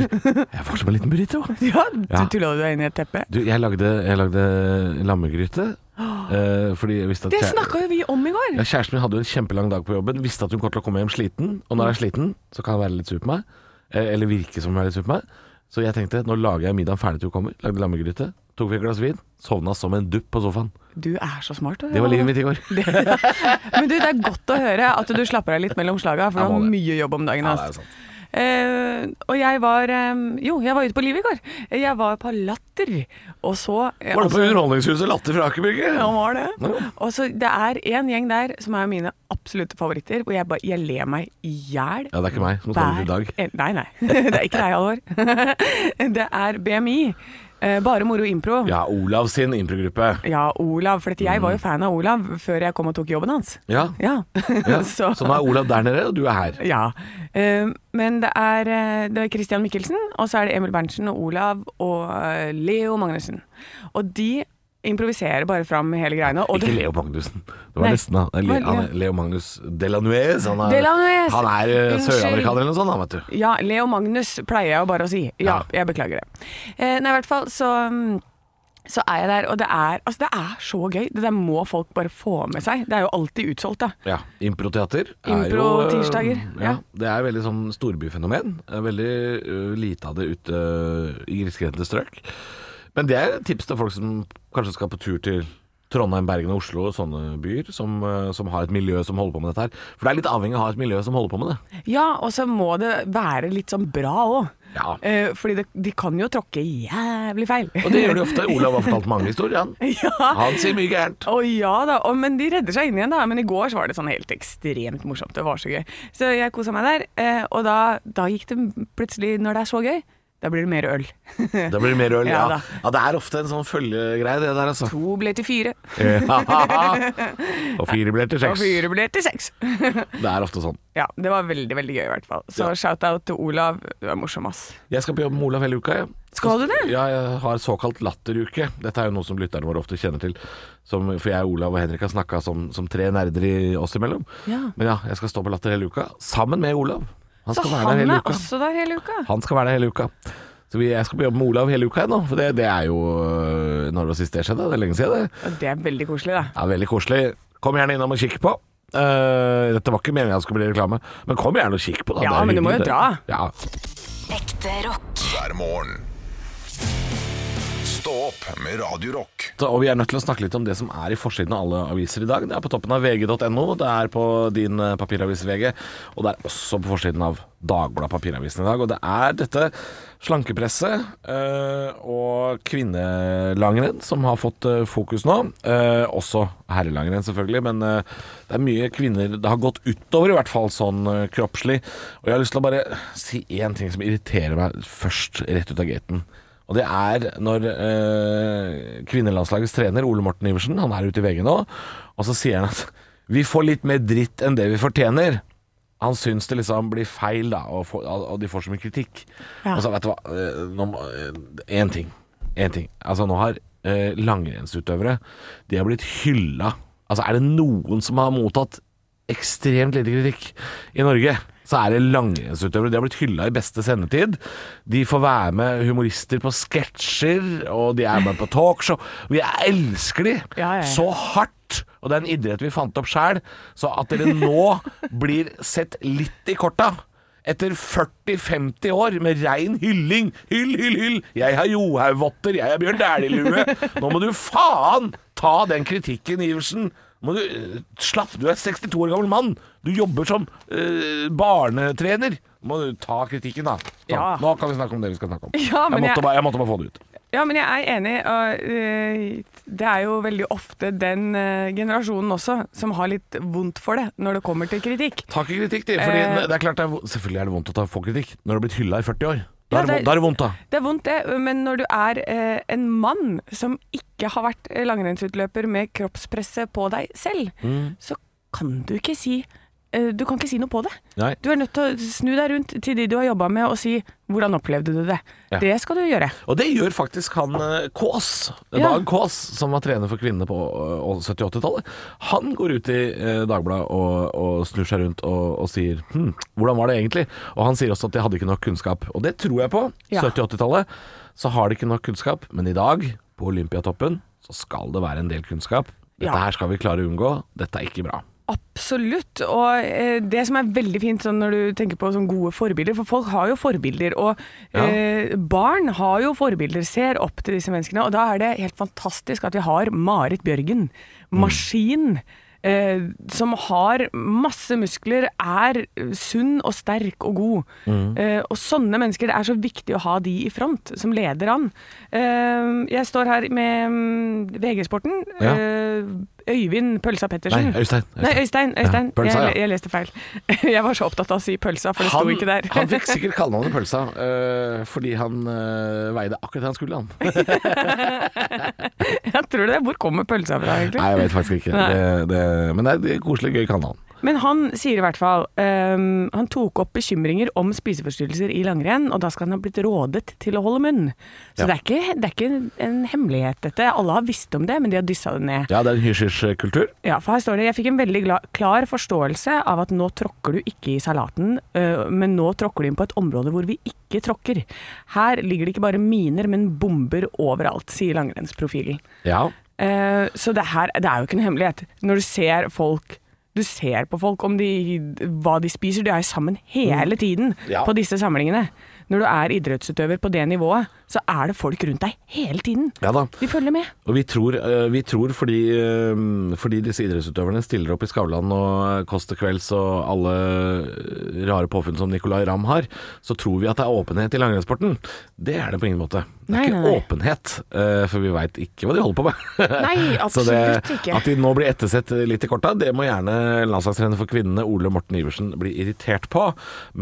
[SPEAKER 4] jeg var som en liten burrito.
[SPEAKER 3] Ja, du
[SPEAKER 4] Ja.
[SPEAKER 3] tulla du deg inn i et teppe?
[SPEAKER 4] Du, jeg lagde, jeg lagde lammegryte. eh, fordi jeg visste at
[SPEAKER 3] Det
[SPEAKER 4] kjæ-
[SPEAKER 3] snakka jo vi om i går.
[SPEAKER 4] ja, Kjæresten min hadde jo en kjempelang dag på jobben. Visste at hun kom til å komme hjem sliten. Og når jeg er sliten, så kan jeg være litt sur på meg. eh, eller virke som hun er litt sur på meg. Så jeg tenkte nå lager jeg middagen ferdig til hun kommer. Lagde lammegryte. Tok vi et glass vin. Sovna som en dupp på sofaen.
[SPEAKER 3] Du er så smart.
[SPEAKER 4] Det var livet mitt i går.
[SPEAKER 3] Men du, det er godt å høre at du slapper av litt mellom slaga, for
[SPEAKER 4] Jeg
[SPEAKER 3] du
[SPEAKER 4] må
[SPEAKER 3] har
[SPEAKER 4] det.
[SPEAKER 3] mye jobb om dagen.
[SPEAKER 4] Ja,
[SPEAKER 3] ass.
[SPEAKER 4] det er sant.
[SPEAKER 3] Eh, og jeg var eh, Jo, jeg var ute på livet i går. Jeg var på Latter, og så eh,
[SPEAKER 4] Var du på
[SPEAKER 3] altså-
[SPEAKER 4] Underholdningshuset Latter fra Akerbygget?
[SPEAKER 3] Ja, han var
[SPEAKER 4] Ja.
[SPEAKER 3] det. Og så Det er en gjeng der som er mine absolutte favoritter, hvor jeg, bare, jeg ler meg i hjel.
[SPEAKER 4] Ja, det er ikke meg som kommer til i dag.
[SPEAKER 3] en- Nei, nei. Det er ikke deg, Alvor. Det er BMI. eh, Bare moro impro.
[SPEAKER 4] Ja, Olav sin improgruppe.
[SPEAKER 3] Ja, Olav. For at jeg var jo fan av Olav før jeg kom og tok jobben hans.
[SPEAKER 4] Ja.
[SPEAKER 3] Ja.
[SPEAKER 4] ja. Så.
[SPEAKER 3] Så-
[SPEAKER 4] nå er Olav der nede, og du er her.
[SPEAKER 3] Ja. Eh, Men det er, eh, det er Christian Mikkelsen, og så er det Emil Berntsen og Olav og eh, Leo Magnussen. Og de improviserer bare fram hele greiene. Og
[SPEAKER 4] Ikke
[SPEAKER 3] det-
[SPEAKER 4] Leo Magnussen. Det var
[SPEAKER 3] Nei.
[SPEAKER 4] nesten han. Le,
[SPEAKER 3] Hva er det?
[SPEAKER 4] han er Leo Magnus Delanuez. Han er,
[SPEAKER 3] Delanuez!
[SPEAKER 4] Han er eh,
[SPEAKER 3] Unnskyld.
[SPEAKER 4] søramerikaner eller noe sånt, han, vet du.
[SPEAKER 3] Ja, Leo Magnus pleier jeg jo bare å si. Ja, jeg beklager det. Eh, nei, i hvert fall så mm, så er jeg der, og det er, altså det er så gøy. Det der må folk bare få med seg. Det er jo alltid utsolgt, da.
[SPEAKER 4] Ja. Improteater er
[SPEAKER 3] Impro
[SPEAKER 4] jo, eh,
[SPEAKER 3] tirsdager,
[SPEAKER 4] Ja.
[SPEAKER 3] ja.
[SPEAKER 4] Det er veldig sånn storbyfenomen. Det er Veldig eh, lite av det ute eh, i grisgrendte strøk. Men det er et tips til folk som kanskje skal på tur til Trondheim, Bergen og Oslo og sånne byer, som, eh, som har et miljø som holder på med dette her. For det er litt avhengig av å ha et miljø som holder på med det.
[SPEAKER 3] Ja, og så må det være litt sånn bra òg.
[SPEAKER 4] Ja.
[SPEAKER 3] Eh, fordi det, de kan jo tråkke jævlig feil.
[SPEAKER 4] Og det gjør de ofte. Olav har fortalt mange historier, han.
[SPEAKER 3] ja.
[SPEAKER 4] Han sier mye gærent.
[SPEAKER 3] Å ja da, Å, men de redder seg inn igjen da. Men i går så var det sånn helt ekstremt morsomt. Det var så gøy. Så jeg kosa meg der. eh, Og da, da gikk det plutselig, når det er så gøy, da blir det mer øl.
[SPEAKER 4] Da blir det mer øl, ja.
[SPEAKER 3] Ja da.
[SPEAKER 4] ja. det er ofte en sånn følgegreie, det der, altså.
[SPEAKER 3] To ble til fire,
[SPEAKER 4] og fire blir til
[SPEAKER 3] og
[SPEAKER 4] seks.
[SPEAKER 3] fire ble til seks.
[SPEAKER 4] Det er ofte sånn.
[SPEAKER 3] ja, det var veldig, veldig gøy i hvert fall. Så
[SPEAKER 4] Ja.
[SPEAKER 3] shout-out til Olav. Du er morsom, ass.
[SPEAKER 4] Jeg skal på jobb med Olav hele uka, jeg.
[SPEAKER 3] Skal du det?
[SPEAKER 4] Ja, jeg har såkalt latteruke. Dette er jo noe som lytterne våre ofte kjenner til. Som, for jeg, Olav og Henrik har snakka som, som tre nerder i oss imellom.
[SPEAKER 3] Ja.
[SPEAKER 4] Men ja, jeg skal stå på Latter hele uka, sammen med Olav. Han
[SPEAKER 3] Så
[SPEAKER 4] skal være
[SPEAKER 3] han
[SPEAKER 4] der
[SPEAKER 3] er
[SPEAKER 4] hele uka.
[SPEAKER 3] også der hele uka.
[SPEAKER 4] Han skal være der hele uka. Så vi, jeg skal på jobb med Olav hele uka jeg nå, for det, det er jo øh, Når var sist det skjedde? Det er lenge siden, det.
[SPEAKER 3] Og det er veldig koselig, da.
[SPEAKER 4] Ja, veldig koselig. Kom gjerne innom og kikk på. Eh, dette var ikke meningen at det skulle bli reklame, men kom gjerne og kikk på. Da.
[SPEAKER 3] Ja,
[SPEAKER 4] Det er
[SPEAKER 3] men du må jo
[SPEAKER 4] hyggelig,
[SPEAKER 3] dra.
[SPEAKER 4] det. Ja.
[SPEAKER 1] Ekte rock.
[SPEAKER 2] hver morgen. Stå opp med Radio Rock.
[SPEAKER 4] Så, og vi er nødt til å snakke litt om det som er i forsiden av alle aviser i dag. Det er på toppen av vg.no, det er på din eh, papiravis VG, og det er også på forsiden av Dagbladet Papiravisen i dag. Og det er dette slankepresset eh, og kvinnelangrenn som har fått eh, fokus nå. Eh, også herrelangrenn, selvfølgelig, men eh, det er mye kvinner det har gått utover, i hvert fall sånn eh, kroppslig. Og jeg har lyst til å bare si én ting som irriterer meg først, rett ut av gaten. Og det er når eh, kvinnelandslagets trener, Ole Morten Iversen, han er ute i VG nå, og så sier han at vi får litt mer dritt enn det vi fortjener. Han syns det liksom blir feil, da, og, får- og de får så mye kritikk.
[SPEAKER 3] Ja.
[SPEAKER 4] Og så vet du hva, eh, nå må- eh, én ting. Én ting. Altså, nå har eh, langrennsutøvere De har blitt hylla. Altså, er det noen som har mottatt ekstremt lite kritikk i Norge? så er det langrennsutøvere. De har blitt hylla i beste sendetid. De får være med humorister på sketsjer, og de er med på talkshow. Vi elsker de
[SPEAKER 7] Ja, ja, ja.
[SPEAKER 4] så hardt. Og det er en idrett vi fant opp sjæl, så at dere nå blir sett litt i korta etter 40-50 år med rein hylling Hyll, hyll, hyll! Jeg har Johaugvotter, jeg har Bjørn Dæhlie-lue. Nå må du faen ta den kritikken, Iversen. Nå Må du, eh, slapp, du er 62 år gammel mann. Du jobber som eh, barnetrener. Nå Må du ta kritikken, da. Sånn.
[SPEAKER 7] Ja.
[SPEAKER 4] Nå kan vi snakke om det vi skal snakke om.
[SPEAKER 3] Ja, men
[SPEAKER 4] jeg, måtte
[SPEAKER 3] jeg-
[SPEAKER 4] bare, jeg måtte bare få det ut.
[SPEAKER 3] Ja, men jeg er enig. Og eh, det er jo veldig ofte den eh, generasjonen også som har litt vondt for det når det kommer til kritikk.
[SPEAKER 4] Ta ikke kritikk, de. Fordi
[SPEAKER 3] Eh.
[SPEAKER 4] det er klart det er, vo- selvfølgelig er det vondt å ta få kritikk når du har blitt hylla i 40 år. Da
[SPEAKER 3] Ja,
[SPEAKER 4] er
[SPEAKER 3] det-
[SPEAKER 4] det, vondt- da er det vondt, da.
[SPEAKER 3] Det er vondt, det, men når du er eh, en mann som ikke har vært langrennsutløper med kroppspresset på deg selv, så kan du ikke si eh, du kan ikke si noe på det.
[SPEAKER 4] Nei.
[SPEAKER 3] Du er nødt til å snu deg rundt til de du har jobba med og si 'hvordan opplevde du det'?
[SPEAKER 4] Ja.
[SPEAKER 3] Det skal du gjøre.
[SPEAKER 4] Og det gjør faktisk han eh, Kaas,
[SPEAKER 3] Ja.
[SPEAKER 4] Dag Kaas, som var trener for kvinnene på eh, 70-80-tallet. Han går ut i eh, Dagbladet og, og snur seg rundt og, og sier hm, 'hvordan var det egentlig?' Og han sier også at de hadde ikke nok kunnskap. Og det tror jeg på.
[SPEAKER 3] Ja.
[SPEAKER 4] 70-80-tallet så har de ikke nok kunnskap, men i dag, på Olympiatoppen, så skal det være en del kunnskap. Dette
[SPEAKER 3] Ja.
[SPEAKER 4] her skal vi klare å unngå. Dette er ikke bra.
[SPEAKER 3] Absolutt. Og eh, det som er veldig fint sånn, når du tenker på sånn gode forbilder, for folk har jo forbilder, og eh, barn har jo forbilder, ser opp til disse menneskene, og da er det helt fantastisk at vi har Marit Bjørgen, maskin. Eh, som har masse muskler, er sunn og sterk og god. Eh, og sånne mennesker, det er så viktig å ha de i front, som leder an. Eh, jeg står her med mm, VG-sporten.
[SPEAKER 4] Ja.
[SPEAKER 3] Eh, Øyvind Pølsa Pettersen.
[SPEAKER 4] Nei, Øystein.
[SPEAKER 3] Nei, Øystein. Øystein.
[SPEAKER 4] Ja, pølsa, ja.
[SPEAKER 3] jeg, jeg leste feil. Jeg var så opptatt av å si pølsa, for det sto ikke der.
[SPEAKER 4] han fikk sikkert kallenavnet Pølsa eh, fordi han eh, veide akkurat det han skulle, han.
[SPEAKER 3] jeg tror det. Hvor kommer pølsa fra, egentlig?
[SPEAKER 4] Nei, jeg vet faktisk ikke.
[SPEAKER 3] Nei.
[SPEAKER 4] Det, det, men det er et koselig, gøy kanal.
[SPEAKER 3] Men han sier i hvert fall ehm, Han tok opp bekymringer om spiseforstyrrelser i langrenn, og da skal han ha blitt rådet til å holde munn. Så
[SPEAKER 4] Ja.
[SPEAKER 3] det, er ikke, det er ikke en hemmelighet, dette. Alle har visst om det, men de har dyssa det ned.
[SPEAKER 4] Ja, det er en hysj-hysj-kultur.
[SPEAKER 3] Ja, for her står det Jeg fikk en veldig gla klar forståelse av at nå tråkker du ikke i salaten, øh, men nå tråkker du inn på et område hvor vi ikke tråkker. Her ligger det ikke bare miner, men bomber overalt, sier langrennsprofilen.
[SPEAKER 4] Ja.
[SPEAKER 3] Eh, så det her det er jo ikke en hemmelighet. Når du ser folk du ser på folk om de, hva de spiser. De er jo sammen hele tiden
[SPEAKER 4] Mm. Ja.
[SPEAKER 3] på disse samlingene. Når du er idrettsutøver på det nivået, så er det folk rundt deg hele tiden.
[SPEAKER 4] ja da.
[SPEAKER 3] De følger med.
[SPEAKER 4] Og vi tror, eh, vi tror fordi, eh, fordi disse idrettsutøverne stiller opp i Skavlan og Kåss til kvelds og alle eh, rare påfunn som Nicolay Ramm har, så tror vi at det er åpenhet i langrennssporten. Det er det på ingen måte. Det er
[SPEAKER 3] Nei, nei,
[SPEAKER 4] ikke
[SPEAKER 3] nei.
[SPEAKER 4] åpenhet, eh, for vi veit ikke hva de holder på med.
[SPEAKER 3] Nei,
[SPEAKER 4] Så det-
[SPEAKER 3] absolutt ikke.
[SPEAKER 4] At de nå blir ettersett litt i korta, det må gjerne landslagstrener for kvinnene Ole Morten Iversen bli irritert på,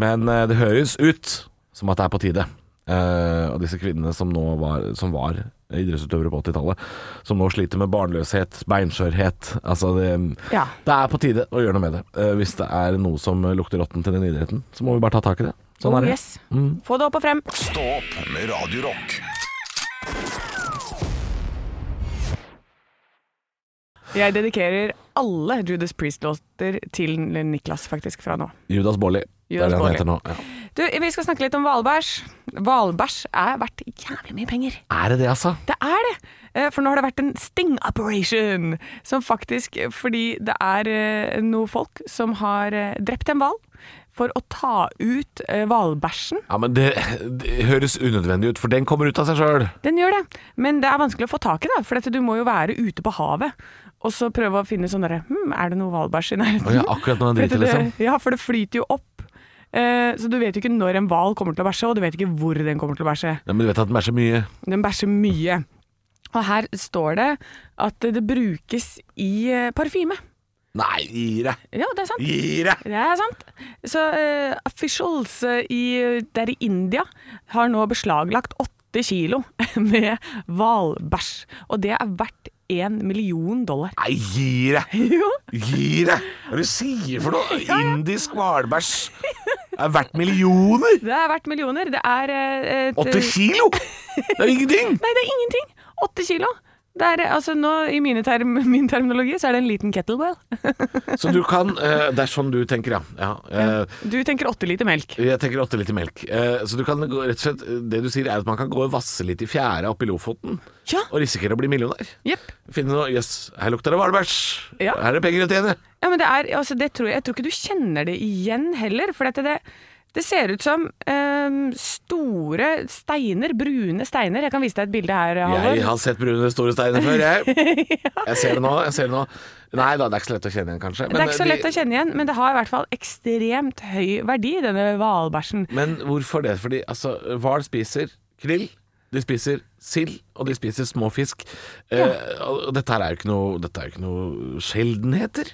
[SPEAKER 4] men eh, det høres ut som at det er på tide. Eh, og disse kvinnene som nå var, som var idrettsutøvere på 80-tallet, som nå sliter med barnløshet, beinskjørhet Altså, det,
[SPEAKER 3] Ja.
[SPEAKER 4] det er på tide å gjøre noe med det. Eh, hvis det er noe som lukter rotten til den idretten, så må vi bare ta tak i det. Sånn
[SPEAKER 3] Oh,
[SPEAKER 4] er det.
[SPEAKER 3] yes. Få det opp og frem.
[SPEAKER 2] Stå opp med Radio Rock.
[SPEAKER 3] Jeg dedikerer alle Judas Priest-låter til Niklas, faktisk, fra nå.
[SPEAKER 4] Judas Baarli. Det er
[SPEAKER 3] Judas
[SPEAKER 4] det han
[SPEAKER 3] Baarli.
[SPEAKER 4] heter nå. Ja.
[SPEAKER 3] Du, vi skal snakke litt om hvalbæsj. Hvalbæsj er verdt jævlig mye penger.
[SPEAKER 4] Er det det, altså?
[SPEAKER 3] Det er det! Eh, For nå har det vært en sting operation, som faktisk Fordi det er eh, noen folk som har eh, drept en hval for å ta ut eh, hvalbæsjen.
[SPEAKER 4] Ja, men det, det høres unødvendig ut, for den kommer ut av seg sjøl.
[SPEAKER 3] Den gjør det, men det er vanskelig å få tak i, da, for dette, du må jo være ute på havet. Og så prøve å finne sånn derre hm, Er det noe hvalbæsj i nærheten?
[SPEAKER 4] Å ja, akkurat når den
[SPEAKER 3] For dette,
[SPEAKER 4] driter, liksom.
[SPEAKER 3] det- Ja, for det flyter jo opp. Eh, Så du vet jo ikke når en hval kommer til å bæsje, og du vet ikke hvor den kommer til å bæsje.
[SPEAKER 4] Ja, men du vet at den bæsjer mye.
[SPEAKER 3] Den bæsjer mye. Og her står det at det brukes i eh, parfyme.
[SPEAKER 4] Nei, gi deg!
[SPEAKER 3] Ja, det er sant.
[SPEAKER 4] Gi deg!
[SPEAKER 3] Det er sant. Så eh, officials eh, i, der i India har nå beslaglagt åtte kilo med hvalbæsj. Og det er verdt én million dollar.
[SPEAKER 4] Nei, gi deg!
[SPEAKER 3] Jo,
[SPEAKER 4] Gi deg! Hva er det du sier for noe? Indisk hvalbæsj er verdt millioner!
[SPEAKER 3] det er verdt millioner. Det er eh, et
[SPEAKER 4] Åtte kilo! Det er ingenting!
[SPEAKER 3] Nei, det er ingenting. Åtte kilo. Det er, altså nå, I mine term, min terminologi så er det en liten kettlebell.
[SPEAKER 4] Så du kan eh, Det er sånn du tenker, ja. ja. eh,
[SPEAKER 3] Du tenker åtte liter melk.
[SPEAKER 4] Jeg tenker åtte liter melk. Eh, så du kan gå, rett og slett Det du sier er at man kan gå og vasse litt i fjæra oppe i Lofoten
[SPEAKER 3] Ja.
[SPEAKER 4] og risikere å bli millionær.
[SPEAKER 3] Jepp.
[SPEAKER 4] Finne noe Jøss, her lukter det hvalbæsj.
[SPEAKER 3] Ja.
[SPEAKER 4] Her er det penger å tjene.
[SPEAKER 3] Ja, men det er, altså, det tror jeg, jeg tror ikke du kjenner det igjen heller, for dette, det, det ser ut som ehm, store steiner, brune steiner. Jeg kan vise deg et bilde her, Halvor.
[SPEAKER 4] Jeg har sett brune store steiner før, jeg. Jeg ser det nå. jeg ser det nå Nei da, det er ikke så lett å kjenne igjen, kanskje. eh,
[SPEAKER 3] det er ikke så lett å kjenne igjen, men det har i hvert fall ekstremt høy verdi, denne hvalbæsjen.
[SPEAKER 4] Men hvorfor det? Fordi altså, hval spiser krill. De spiser sild, og de spiser små fisk. Eh, og dette her er jo ikke noe, dette er jo ikke noe sjeldenheter.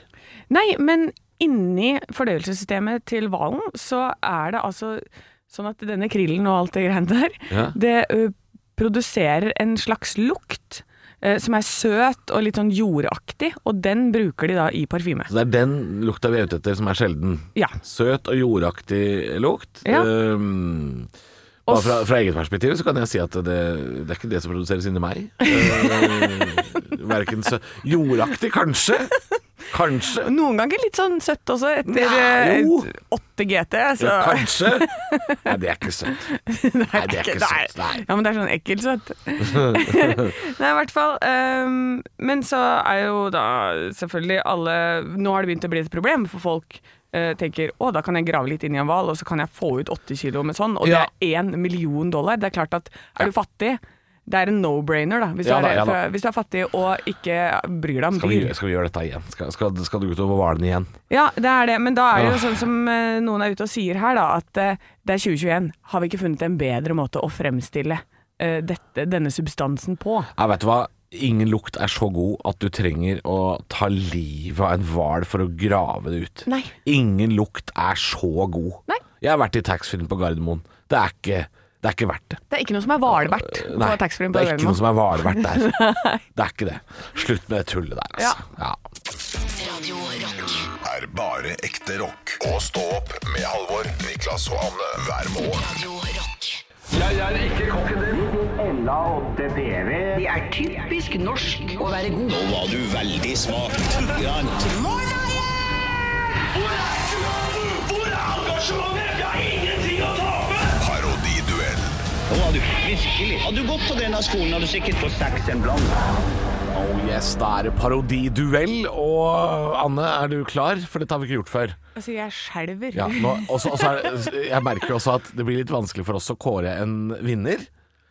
[SPEAKER 3] Nei, men inni fordøyelsessystemet til hvalen så er det altså sånn at denne krillen og alt det greiene der,
[SPEAKER 4] Ja.
[SPEAKER 3] det ø, produserer en slags lukt ø, som er søt og litt sånn jordaktig, og den bruker de da i parfyme.
[SPEAKER 4] Så det er den lukta vi er ute etter, som er sjelden.
[SPEAKER 3] Ja.
[SPEAKER 4] Søt og jordaktig lukt.
[SPEAKER 3] Ja.
[SPEAKER 4] Ehm,
[SPEAKER 3] Og
[SPEAKER 4] bare
[SPEAKER 3] s-
[SPEAKER 4] fra, fra eget perspektiv så kan jeg si at det, det er ikke det som produseres inni meg. Ehm, Verken sø... Jordaktig, kanskje. Kanskje.
[SPEAKER 3] Noen ganger litt sånn søtt også, etter
[SPEAKER 4] Nei, jo.
[SPEAKER 3] ø, 8 GT. Så.
[SPEAKER 4] Ja, kanskje. Nei, det er ikke søtt. Nei, det er ikke søtt. Nei.
[SPEAKER 3] Ja, men det er sånn ekkelt søtt. Nei, i hvert fall. ehm, men så er jo da selvfølgelig alle Nå har det begynt å bli et problem, for folk eh, tenker å, da kan jeg grave litt inn i en hval, og så kan jeg få ut åtte kilo med sånn, og
[SPEAKER 4] Ja.
[SPEAKER 3] det er én million dollar. Det er klart at er du fattig det er en no-brainer, da. Hvis,
[SPEAKER 4] Ja
[SPEAKER 3] du
[SPEAKER 4] da,
[SPEAKER 3] er,
[SPEAKER 4] ja da.
[SPEAKER 3] fra- hvis du er fattig og ikke bryr deg om
[SPEAKER 4] Skal vi,
[SPEAKER 3] dyr.
[SPEAKER 4] gjøre- skal vi gjøre dette igjen? Skal, skal, skal du utover hvalen igjen?
[SPEAKER 3] Ja, det er det. Men da er det jo sånn som eh, noen er ute og sier her, da, at eh, det er 2021. Har vi ikke funnet en bedre måte å fremstille eh, dette, denne substansen på?
[SPEAKER 4] Ja, vet du hva? Ingen lukt er så god at du trenger å ta livet av en hval for å grave det ut.
[SPEAKER 3] Nei.
[SPEAKER 4] Ingen lukt er så god.
[SPEAKER 3] Nei.
[SPEAKER 4] Jeg har vært i taxfree-en på Gardermoen. Det er ikke, det er ikke verdt det.
[SPEAKER 3] Det er ikke noe som er hvalbært på
[SPEAKER 4] Nei,
[SPEAKER 3] taxfree-en
[SPEAKER 4] det
[SPEAKER 3] på
[SPEAKER 4] er ikke noe
[SPEAKER 3] Gardermoen.
[SPEAKER 4] som er hvalverdt der. det er ikke det. Slutt med det tullet der, altså. Ja.
[SPEAKER 2] er bare ekte rock. Og stå opp med Halvor, Niklas og Anne hver morgen.
[SPEAKER 8] Det er typisk norsk å være god.
[SPEAKER 9] Nå var du veldig smak. Grant.
[SPEAKER 2] Parodiduell
[SPEAKER 9] Nå var du virkelig. Hadde du gått på denne skolen, hadde du sikkert fått seks en blant.
[SPEAKER 4] Oh yes, da er det parodiduell. Og Anne, er du klar? For dette har vi ikke gjort før.
[SPEAKER 3] Altså, jeg skjelver.
[SPEAKER 4] Ja, nå, også, også er, det- jeg merker også at det blir litt vanskelig for oss å kåre en vinner.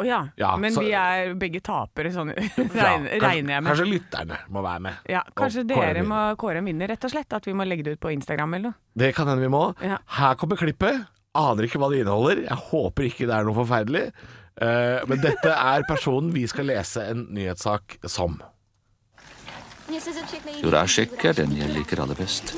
[SPEAKER 3] Å ja.
[SPEAKER 4] Ja,
[SPEAKER 3] Men
[SPEAKER 4] så-
[SPEAKER 3] vi er begge tapere, sånn
[SPEAKER 4] Ja,
[SPEAKER 3] regner,
[SPEAKER 4] kanskje-
[SPEAKER 3] regner jeg med.
[SPEAKER 4] Kanskje lytterne må være med.
[SPEAKER 3] ja, kanskje
[SPEAKER 4] Og kåre
[SPEAKER 3] dere
[SPEAKER 4] en vinner.
[SPEAKER 3] må kåre en vinner, rett og slett. At vi må legge det ut på Instagram eller noe.
[SPEAKER 4] Det kan hende vi må.
[SPEAKER 3] Ja.
[SPEAKER 4] Her kommer klippet. Aner ikke hva det inneholder. Jeg håper ikke det er noe forferdelig. Eh, men dette er personen vi skal lese en nyhetssak som.
[SPEAKER 10] Jo, det er sjekk er den jeg liker aller best.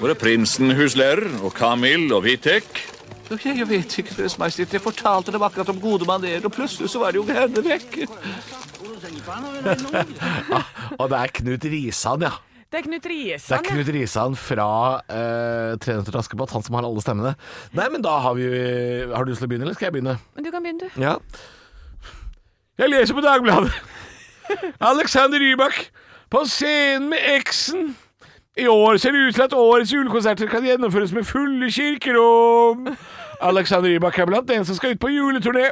[SPEAKER 11] Våre prinsen, huslærer, og Kamil og Vitek.
[SPEAKER 10] Ok, jeg vet ikke, Deres Majestet. Jeg fortalte dem akkurat om gode manerer, og plutselig så var det jo henne vekk.
[SPEAKER 4] Ah, Og det er Knut Risan, ja.
[SPEAKER 3] Det er Knut
[SPEAKER 4] Det er
[SPEAKER 3] Riesand, Sånn, ja.
[SPEAKER 4] Knut Risan fra uh, 'Trener til Askepott', han som har alle stemmene. Nei, men da har vi Har du lyst til å begynne, eller skal jeg begynne?
[SPEAKER 3] Men du kan begynne, du.
[SPEAKER 4] Ja. Jeg leser på Dagbladet. Alexander Rybak på scenen med eksen. I år ser det ut til at årets julekonserter kan gjennomføres med fulle kirkerom. Alexander Rybak er blant den som skal ut på juleturné.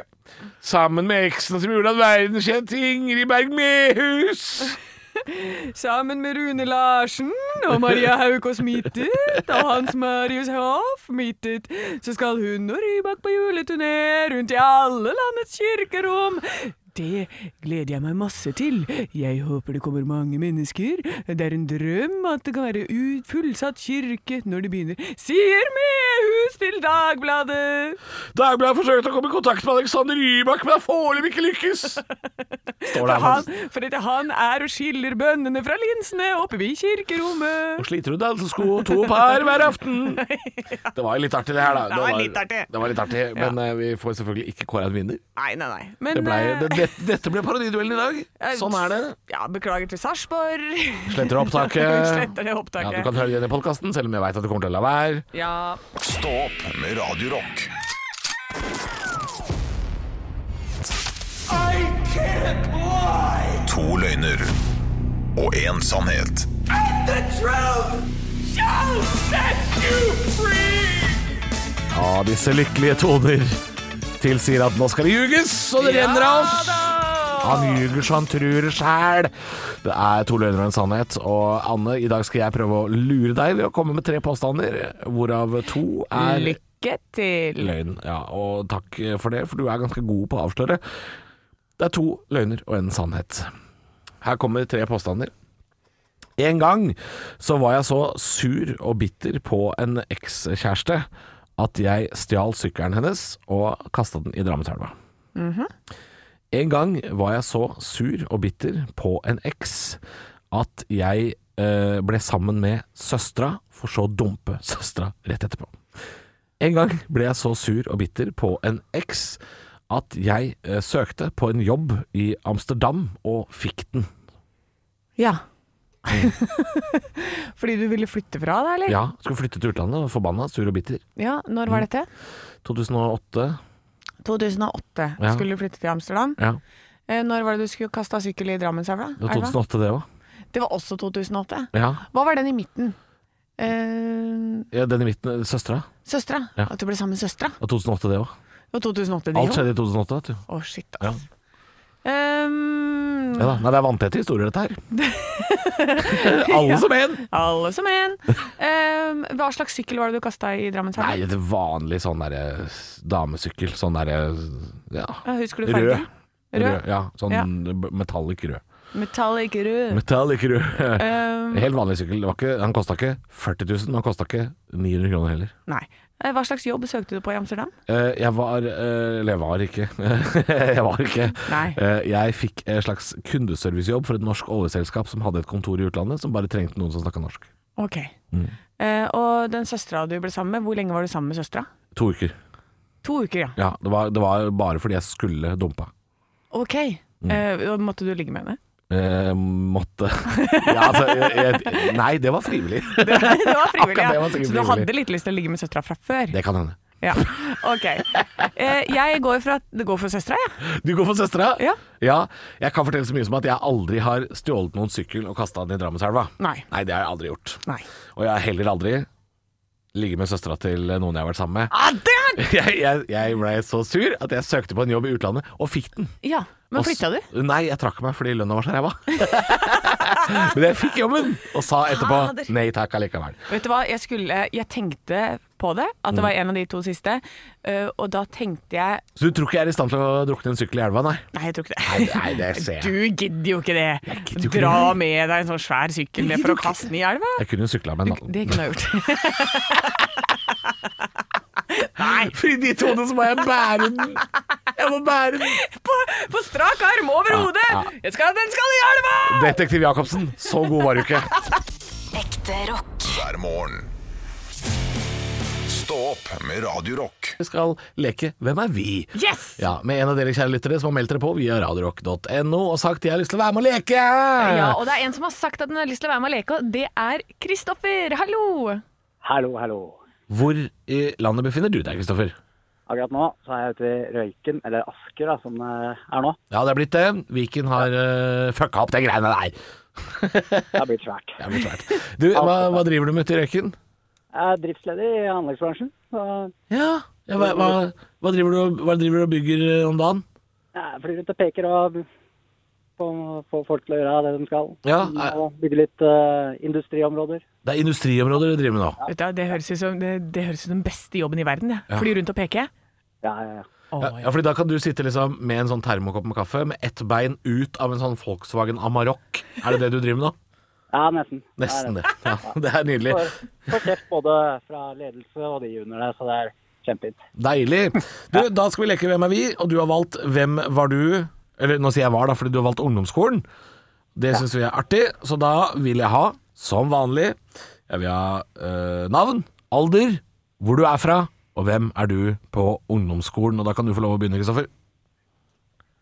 [SPEAKER 4] Sammen med eksen som gjorde at verden kjente Ingrid Berg Mehus.
[SPEAKER 3] Sammen med Rune Larsen og Maria Haukås Mittet og Hans Marius Hoff Mittet, så skal hun og Rybak på juleturné rundt i alle landets kirkerom. Det gleder jeg meg masse til. Jeg håper det kommer mange mennesker. Det er en drøm at det kan være ut- fullsatt kirke når det begynner, sier Mehus til Dagbladet.
[SPEAKER 4] Dagbladet har forsøkt å komme i kontakt med Alexander Rybak, men har foreløpig ikke lykkes. Står der,
[SPEAKER 3] Han, for at han er og skiller bønnene fra linsene oppe ved kirkerommet.
[SPEAKER 4] Og sliter du dansesko to par hver aften. Det var jo litt artig, det her, da.
[SPEAKER 3] Det var litt artig.
[SPEAKER 4] Det var litt artig Men eh, vi får selvfølgelig ikke kåre en vinner.
[SPEAKER 3] Nei, nei, nei. Men,
[SPEAKER 4] Det ble,
[SPEAKER 3] eh,
[SPEAKER 4] det, det, dette ble parodiduellen i dag. Sånn er det.
[SPEAKER 3] Ja, beklager til Sarpsborg.
[SPEAKER 4] Sletter opptaket.
[SPEAKER 3] Sletter det
[SPEAKER 4] Ja,
[SPEAKER 3] opptaket.
[SPEAKER 4] du kan høre den i podkasten, selv om jeg veit at du kommer til å la være.
[SPEAKER 3] Ja.
[SPEAKER 2] Stå opp med Radio Rock.
[SPEAKER 12] I
[SPEAKER 2] To løgner og én sannhet.
[SPEAKER 4] Ja, disse lykkelige toner tilsier at nå skal det ljuges, og det renner av oss. Han ljuger så han truer sjæl. Det er to løgner og en sannhet. Og Anne, i dag skal jeg prøve å lure deg ved å komme med tre påstander, hvorav to er
[SPEAKER 3] Lykke til.
[SPEAKER 4] løgn. Ja, og takk for det, for du er ganske god på å avsløre. Det er to løgner og en sannhet. Her kommer tre påstander. En gang så var jeg så sur og bitter på en ekskjæreste at jeg stjal sykkelen hennes og kasta den i Drammenselva. En gang var jeg så sur og bitter på en eks at jeg eh, ble sammen med søstera, for så å dumpe søstera rett etterpå. En gang ble jeg så sur og bitter på en eks at jeg eh, søkte på en jobb i Amsterdam og fikk den.
[SPEAKER 3] Ja. Fordi du ville flytte fra deg, eller?
[SPEAKER 4] Mm. Ja, Mm. skulle flytte til utlandet, og forbanna, sur og bitter.
[SPEAKER 3] Ja, Når var dette?
[SPEAKER 4] 2008.
[SPEAKER 3] 2008
[SPEAKER 4] Ja.
[SPEAKER 3] skulle du flytte til Amsterdam.
[SPEAKER 4] Ja,
[SPEAKER 3] Eh, Når var det du skulle kaste av sykkel i Drammenselva?
[SPEAKER 4] det var
[SPEAKER 3] Elva?
[SPEAKER 4] 2008 det òg.
[SPEAKER 3] Det var også 2008.
[SPEAKER 4] Ja.
[SPEAKER 3] Hva var den i midten? Eh,
[SPEAKER 4] ja, den i midten, søstera.
[SPEAKER 3] søstera.
[SPEAKER 4] Ja.
[SPEAKER 3] At du ble sammen med søstera.
[SPEAKER 4] Det var 2008 det òg.
[SPEAKER 3] Det var 2008, de
[SPEAKER 4] Alt
[SPEAKER 3] òg.
[SPEAKER 4] skjedde i 2008, vet du.
[SPEAKER 3] Å, shit, ass. Ehm,
[SPEAKER 4] Ja, da. Nei, det er vanntette historier, dette her. Alle som en!
[SPEAKER 3] Alle som en. Ehm, hva slags sykkel var det du kasta i
[SPEAKER 4] Nei,
[SPEAKER 3] Drammenselva?
[SPEAKER 4] det er vanlig sånn derre s- damesykkel. Sånn derre ja.
[SPEAKER 3] Eh, Husker du
[SPEAKER 4] Rød.
[SPEAKER 3] fargen? Rød?
[SPEAKER 4] Ja, sånn
[SPEAKER 3] Ja.
[SPEAKER 4] b- metallic rød.
[SPEAKER 3] Metallic rød.
[SPEAKER 4] Metallic rød.
[SPEAKER 3] Ehm,
[SPEAKER 4] Helt vanlig sykkel. Det var ikke, han kosta ikke 40 000, han kosta ikke 900 kroner heller.
[SPEAKER 3] nei. Eh, Hva slags jobb søkte du på i Amsterdam?
[SPEAKER 4] Eh, jeg var eh, Eller jeg var ikke. jeg var ikke.
[SPEAKER 3] Nei.
[SPEAKER 4] Eh, jeg fikk en slags kundeservicejobb for et norsk oljeselskap som hadde et kontor i utlandet, som bare trengte noen som snakka norsk.
[SPEAKER 3] Ok.
[SPEAKER 4] Mm.
[SPEAKER 3] Eh, og den søstera du ble sammen med, hvor lenge var du sammen med søstera?
[SPEAKER 4] To uker.
[SPEAKER 3] To uker, ja.
[SPEAKER 4] Ja, det var, det var bare fordi jeg skulle dumpa.
[SPEAKER 3] Ok.
[SPEAKER 4] Mm.
[SPEAKER 3] Eh, og måtte du ligge med henne?
[SPEAKER 4] Eh, måtte ja, altså, jeg, jeg, Nei, det var frivillig.
[SPEAKER 3] Det var frivillig,
[SPEAKER 4] Akkurat det
[SPEAKER 3] ja.
[SPEAKER 4] var sikkert
[SPEAKER 3] Så du
[SPEAKER 4] frivillig.
[SPEAKER 3] hadde litt lyst til å ligge med søstera fra før?
[SPEAKER 4] Det kan hende.
[SPEAKER 3] Ja, ok. Eh, jeg går for, at, det går for søstera, jeg. Ja.
[SPEAKER 4] Du går for søstera?
[SPEAKER 3] Ja.
[SPEAKER 4] Jeg kan fortelle så mye som at jeg aldri har stjålet noen sykkel og kasta den i Drammenselva.
[SPEAKER 3] Nei.
[SPEAKER 4] Nei, det har jeg aldri gjort.
[SPEAKER 3] Nei.
[SPEAKER 4] Og jeg har heller aldri ligget med søstera til noen jeg har vært sammen med.
[SPEAKER 3] Ah, det er-
[SPEAKER 4] Jeg, jeg, jeg ble så sur at jeg søkte på en jobb i utlandet og fikk den.
[SPEAKER 3] Ja, men
[SPEAKER 4] Og s-
[SPEAKER 3] flytta du?
[SPEAKER 4] Nei, jeg trakk meg fordi lønna var så ræva. Men jeg fikk jobben, og sa etterpå
[SPEAKER 3] Fader.
[SPEAKER 4] nei takk allikevel.
[SPEAKER 3] Vet du hva, jeg, skulle, jeg tenkte på det, at det var
[SPEAKER 4] Mm.
[SPEAKER 3] en av de to siste. eh, og da tenkte jeg
[SPEAKER 4] Så du tror ikke jeg er i stand til å drukne en sykkel i elva, nei?
[SPEAKER 3] Nei, jeg tror ikke det.
[SPEAKER 4] Nei, det ser jeg.
[SPEAKER 3] Du gidder jo ikke det.
[SPEAKER 4] gidder jo ikke
[SPEAKER 3] Dra
[SPEAKER 4] det.
[SPEAKER 3] med deg en sånn svær sykkel ned for å kaste den i elva.
[SPEAKER 4] Jeg kunne jo sykla med en
[SPEAKER 3] Det kunne jeg gjort.
[SPEAKER 4] Nei, fordi de to så må jeg bære den. Jeg må bære den.
[SPEAKER 3] På, på strak arm over hodet! Jeg skal, den skal i elva!
[SPEAKER 4] Detektiv Jacobsen, så god var du ikke.
[SPEAKER 13] Ekte rock.
[SPEAKER 2] hver morgen. Stå opp med Radio Rock.
[SPEAKER 4] Vi skal leke Hvem er vi?
[SPEAKER 3] Yes!
[SPEAKER 4] Ja, Med en av dere kjære lyttere som har meldt dere på via radiorock.no og sagt de har lyst til å være med og leke.
[SPEAKER 3] Ja, og det er en som har sagt at den har lyst til å være med og leke, og det er Kristoffer. Hallo!
[SPEAKER 9] Hallo, hallo.
[SPEAKER 4] Hvor i landet befinner du deg, Kristoffer?
[SPEAKER 9] Akkurat nå så er jeg ute ved Røyken, eller Asker da, som det er nå.
[SPEAKER 4] Ja, det er blitt det. Viken har eh, fucka opp de greiene der.
[SPEAKER 9] Det har blitt svært.
[SPEAKER 4] Det er blitt svært. Du, hva, hva driver du med ute i Røyken?
[SPEAKER 9] Jeg er driftsleder i anleggsbransjen. Så
[SPEAKER 4] Ja, ja hva, hva, hva, driver du, og- hva driver du og bygger eh, om dagen?
[SPEAKER 9] jeg flyr rundt og peker og får, får folk til å gjøre det de skal.
[SPEAKER 4] Ja, eh.
[SPEAKER 9] og bygge litt eh, industriområder.
[SPEAKER 4] Det er industriområder du driver med nå.
[SPEAKER 3] Vet du, hva, det høres ut som, det, det høres ut som den beste jobben i verden. det. Fly rundt og peke.
[SPEAKER 9] Ja, ja, ja.
[SPEAKER 4] Ja, ja, fordi da kan du sitte liksom med en sånn termokopp med kaffe med ett bein ut av en sånn Volkswagen Amarok. Er det det du driver med nå?
[SPEAKER 9] ja nesten.
[SPEAKER 4] Nesten det. Ja, det er nydelig.
[SPEAKER 9] Får, får kjeft både fra ledelse og de under det, så det er kjempefint.
[SPEAKER 4] Deilig. Du, da skal vi leke Hvem er vi? Og du har valgt Hvem var du? Eller nå sier jeg var, da, fordi du har valgt ungdomsskolen. Det syns vi er artig, så da vil jeg ha, som vanlig, jeg vil ha eh, navn, alder, hvor du er fra, og hvem er du på ungdomsskolen. Og da kan du få lov å begynne, Kristoffer.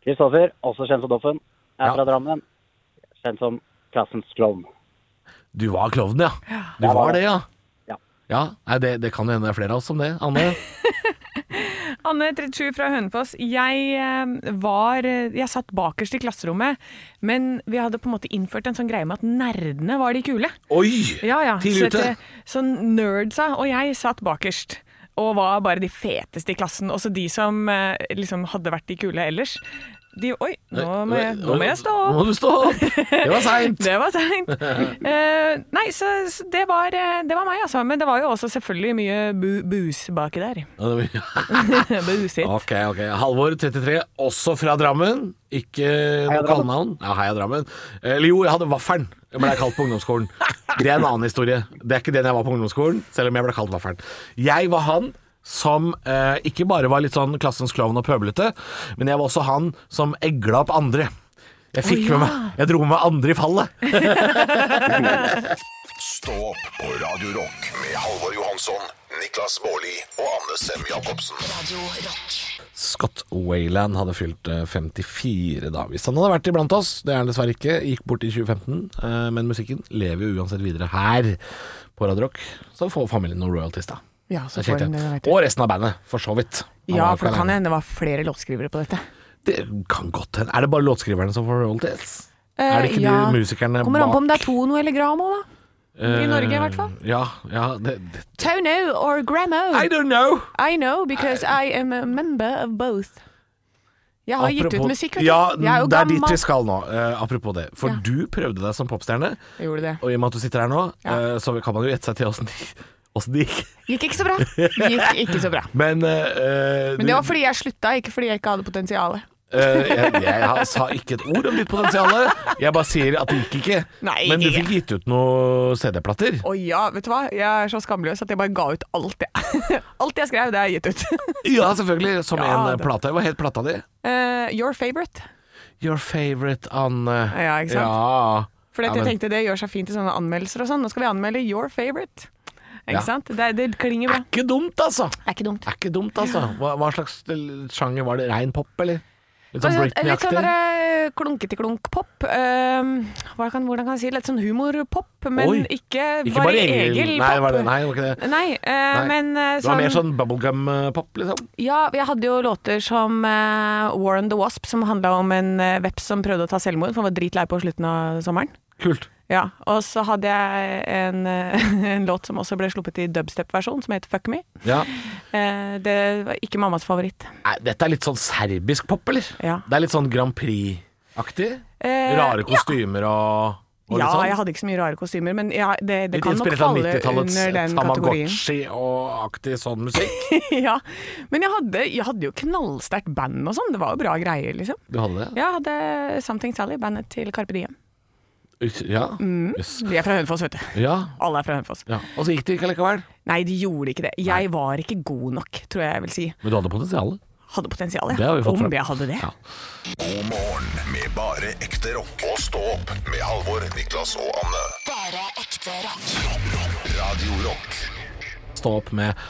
[SPEAKER 9] Kristoffer, også kjent som Doffen. Jeg er
[SPEAKER 4] Ja.
[SPEAKER 9] fra Drammen. Kjent som klassens klovn.
[SPEAKER 4] Du var klovnen, ja. Du var det, ja.
[SPEAKER 9] Ja.
[SPEAKER 4] Ja, nei, det, det kan jo hende det er flere av oss som det, Anne.
[SPEAKER 3] Anne 37 fra Hønefoss. Jeg eh, var Jeg satt bakerst i klasserommet, men vi hadde på en måte innført en sånn greie med at nerdene var de kule.
[SPEAKER 4] Oi!
[SPEAKER 3] Ja, ja. Så,
[SPEAKER 4] Tidlig ute.
[SPEAKER 3] at, eh, så nerdsa og jeg satt bakerst. Og var bare de feteste i klassen. Også de som eh, liksom hadde vært de kule ellers. De Oi, nå må jeg, nå må jeg stå
[SPEAKER 4] Nå
[SPEAKER 3] opp!
[SPEAKER 4] må du stå opp! Det var seint.
[SPEAKER 3] Det var seint. Eh, nei, så, så det, var, eh, det var meg, altså. Men det var jo også selvfølgelig mye bu bus baki der. Buset.
[SPEAKER 4] Ok, ok. Halvor, 33, også fra Drammen. Ikke noe kallenavn. Ja, heia Drammen. Eller jo, jeg hadde Vaffelen. Jeg ble kalt på ungdomsskolen. Det er en annen historie. Det er ikke den jeg var på ungdomsskolen, selv om jeg ble kalt Vaffelen. Jeg var han som eh, ikke bare var litt sånn klassens klovn og pøblete, men jeg var også han som egla opp andre. Jeg fikk med meg Jeg dro med meg andre i fallet.
[SPEAKER 2] Stå opp på Radio Rock med Halvor Johansson, Niklas Baarli og Anne Sem Jacobsen.
[SPEAKER 14] Radio Rock.
[SPEAKER 4] Scott Wayland hadde fylt eh, 54 da, hvis han hadde vært iblant oss. Det er han dessverre ikke. Gikk bort i 2015. eh, Men musikken lever jo uansett videre her på Radio Rock. Så får familien noen royalties, da.
[SPEAKER 3] Ja, så
[SPEAKER 4] Det
[SPEAKER 3] får
[SPEAKER 4] er
[SPEAKER 3] de
[SPEAKER 4] kjekt,
[SPEAKER 3] det
[SPEAKER 4] det.
[SPEAKER 3] de vet.
[SPEAKER 4] Og resten av bandet, for så vidt. Han
[SPEAKER 3] Ja,
[SPEAKER 4] var jo
[SPEAKER 3] for
[SPEAKER 4] ikke
[SPEAKER 3] det kan
[SPEAKER 4] alene.
[SPEAKER 3] hende det var flere låtskrivere på dette.
[SPEAKER 4] Det kan godt hende. Er det bare låtskriverne som får royalties? er det
[SPEAKER 15] Eh,
[SPEAKER 4] ikke
[SPEAKER 15] ja.
[SPEAKER 4] de musikerne
[SPEAKER 15] Kommer an på
[SPEAKER 4] bak
[SPEAKER 15] om det er Tono eller Gramo, da.
[SPEAKER 4] eh,
[SPEAKER 3] i Norge i hvert fall.
[SPEAKER 4] Ja. ja det, det.
[SPEAKER 15] Tono or Gramo.
[SPEAKER 4] I don't know!
[SPEAKER 15] I know, because I am a member of both. Jeg har gitt ut
[SPEAKER 4] Apropos-
[SPEAKER 15] musikk, vet du.
[SPEAKER 4] Ja,
[SPEAKER 15] jeg er jo
[SPEAKER 4] det er dit
[SPEAKER 15] gammel.
[SPEAKER 4] vi skal nå. eh, apropos det. For du prøvde deg som popstjerne.
[SPEAKER 15] Jeg gjorde det.
[SPEAKER 4] Og i og med at du sitter her nå, eh, så kan man jo gjette seg til åssen det åssen det gikk.
[SPEAKER 15] Gikk ikke så bra. Gikk ikke så bra.
[SPEAKER 4] Men, eh,
[SPEAKER 15] Men det
[SPEAKER 4] du-
[SPEAKER 15] var fordi jeg slutta, ikke fordi jeg ikke hadde potensialet.
[SPEAKER 4] eh, jeg, jeg har- sa ikke et ord om ditt potensial. Jeg bare sier at det gikk ikke.
[SPEAKER 3] Nei,
[SPEAKER 4] Men du
[SPEAKER 3] ikke.
[SPEAKER 4] fikk gitt ut noen CD-plater.
[SPEAKER 3] Å ja, vet du hva? Jeg er så skamløs at jeg bare ga ut alt jeg Alt jeg skrev, det har jeg gitt ut.
[SPEAKER 4] Ja, selvfølgelig. Som
[SPEAKER 3] Ja,
[SPEAKER 4] en eh,
[SPEAKER 3] det-
[SPEAKER 4] plate. Hva het plata di?
[SPEAKER 3] Eh, your favorite.
[SPEAKER 4] Your favorite Anne.
[SPEAKER 3] Ja, ikke sant?
[SPEAKER 4] Ja.
[SPEAKER 3] For
[SPEAKER 4] Ja,
[SPEAKER 3] jeg
[SPEAKER 4] men-
[SPEAKER 3] tenkte det gjør seg fint i sånne anmeldelser og sånn. Nå skal vi anmelde your favorite. Ikke
[SPEAKER 4] Ja.
[SPEAKER 3] sant? Det, det klinger bra.
[SPEAKER 4] Ikke dumt, altså.
[SPEAKER 15] Det er ikke dumt.
[SPEAKER 4] Er ikke dumt, altså. Hva, hva slags eh, sjanger var det? Rein pop, eller? Litt sånn
[SPEAKER 3] Altså,
[SPEAKER 15] Litt sånn, litt sånn
[SPEAKER 3] eh,
[SPEAKER 4] Britney-aktig?
[SPEAKER 15] der, klunkete klunk-pop. Ehm, hva kan, hvordan kan jeg si? Litt sånn humorpop, men
[SPEAKER 4] Oi.
[SPEAKER 15] ikke,
[SPEAKER 4] Ikke bare Egil. Nei, var
[SPEAKER 15] Nei,
[SPEAKER 4] det, nei, det var ikke det.
[SPEAKER 15] eh,
[SPEAKER 4] Nei.
[SPEAKER 15] men eh,
[SPEAKER 4] Det var
[SPEAKER 15] sånn,
[SPEAKER 4] mer sånn bubblegum-pop, liksom.
[SPEAKER 15] Ja, jeg hadde jo låter som eh, Warren the Wasp, som handla om en eh, veps som prøvde å ta selvmord, for han var dritlei på slutten av sommeren.
[SPEAKER 4] Kult.
[SPEAKER 15] Ja, Og så hadde jeg en, eh, en låt som også ble sluppet i dubstep-versjon, som heter Fuck Me.
[SPEAKER 4] Ja.
[SPEAKER 15] Eh, det var ikke mammas favoritt.
[SPEAKER 4] Nei, dette er litt sånn serbisk pop, eller?
[SPEAKER 15] Ja.
[SPEAKER 4] Det er litt sånn Grand Prix-aktig?
[SPEAKER 15] Eh,
[SPEAKER 4] Rare kostymer og,
[SPEAKER 3] Ja,
[SPEAKER 4] og litt
[SPEAKER 3] jeg
[SPEAKER 4] sånn?
[SPEAKER 3] hadde ikke så mye rare kostymer, men ja, det, det
[SPEAKER 4] Litt
[SPEAKER 3] kan nok
[SPEAKER 4] inspirert av
[SPEAKER 3] falle under
[SPEAKER 4] 90-tallets
[SPEAKER 3] den kategorien.
[SPEAKER 4] Tamagotchi og aktig sånn musikk.
[SPEAKER 3] ja. Men jeg hadde, jeg hadde jo knallsterkt band og sånn. Det var jo bra greier, liksom.
[SPEAKER 4] Du hadde det?
[SPEAKER 3] Jeg hadde Something Sally, bandet til Carpe Diem.
[SPEAKER 4] Ja.
[SPEAKER 3] Mm.
[SPEAKER 4] Yes.
[SPEAKER 3] De er fra Hønefoss, vet du.
[SPEAKER 4] ja.
[SPEAKER 3] Alle er fra Hønefoss.
[SPEAKER 4] ja. Og så gikk det ikke likevel.
[SPEAKER 3] Nei, de gjorde ikke det. Jeg var ikke god nok, tror jeg jeg vil si.
[SPEAKER 4] Men du hadde potensialet.
[SPEAKER 3] Hadde potensial,
[SPEAKER 4] Det har vi
[SPEAKER 3] jeg.
[SPEAKER 4] fått
[SPEAKER 3] Om
[SPEAKER 4] fram.
[SPEAKER 3] jeg hadde det.
[SPEAKER 4] Ja.
[SPEAKER 2] God morgen med bare ekte rock. Og stå opp med Halvor, Niklas og Anne.
[SPEAKER 14] Bare ekte rock.
[SPEAKER 2] Radio Rock.
[SPEAKER 4] Stå opp med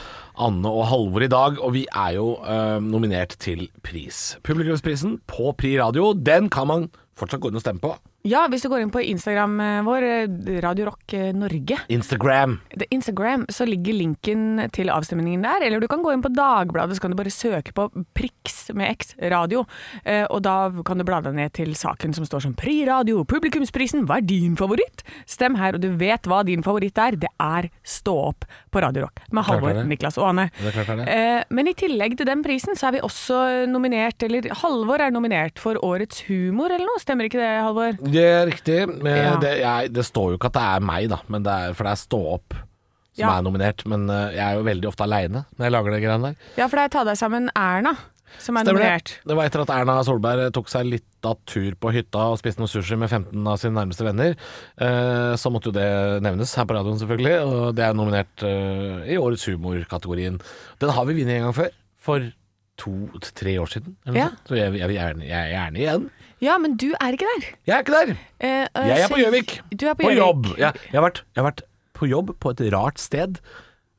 [SPEAKER 4] Anne og Halvor i dag, og vi er jo eh, nominert til pris. Publikumsprisen på Pri Radio, den kan man fortsatt gå inn og stemme på.
[SPEAKER 3] Ja, hvis du går inn på Instagram eh, vår, eh, Radio Rock eh, Norge,
[SPEAKER 4] Instagram.
[SPEAKER 3] det er Instagram, så ligger linken til avstemningen der. Eller du kan gå inn på Dagbladet, så kan du bare søke på Prix med X radio. Eh, og da kan du bla deg ned til saken som står som Pri radio, publikumsprisen, hva er din favoritt? Stem her, og du vet hva din favoritt er. Det er Stå opp på Radio Rock med
[SPEAKER 4] Klart er
[SPEAKER 3] Halvor,
[SPEAKER 4] det.
[SPEAKER 3] Niklas og Anne.
[SPEAKER 4] Det er klart er det.
[SPEAKER 3] Eh, men i tillegg til den prisen, så er vi også nominert, eller Halvor er nominert for Årets humor eller noe, stemmer ikke det, Halvor?
[SPEAKER 4] Det er riktig. men
[SPEAKER 3] Ja.
[SPEAKER 4] Det, jeg, det står jo ikke at det er meg, da, men det er, for det er Stå opp som
[SPEAKER 3] Ja.
[SPEAKER 4] er nominert. Men eh, jeg er jo veldig ofte aleine når jeg lager de greiene der.
[SPEAKER 3] Ja, for det er Ta deg sammen, Erna, som er
[SPEAKER 4] Stemmer
[SPEAKER 3] nominert.
[SPEAKER 4] det? Det var etter at Erna Solberg eh, tok seg litt av tur på hytta og spiste noe sushi med 15 av sine nærmeste venner. Eh, Så måtte jo det nevnes her på radioen, selvfølgelig. Og det er nominert eh, i årets humorkategorien. Den har vi vunnet en gang før. For to-tre år siden. Eller noe
[SPEAKER 3] Ja.
[SPEAKER 4] sånt. Så jeg, jeg, vil gjerne- jeg er gjerne igjen.
[SPEAKER 3] Ja, men du er ikke der.
[SPEAKER 4] Jeg er ikke der!
[SPEAKER 3] Eh, eh,
[SPEAKER 4] Jeg er
[SPEAKER 3] så-
[SPEAKER 4] på Gjøvik.
[SPEAKER 3] Du er på, Gjøvik.
[SPEAKER 4] jobb. Jeg, jeg, har vært, jeg har vært på jobb på et rart sted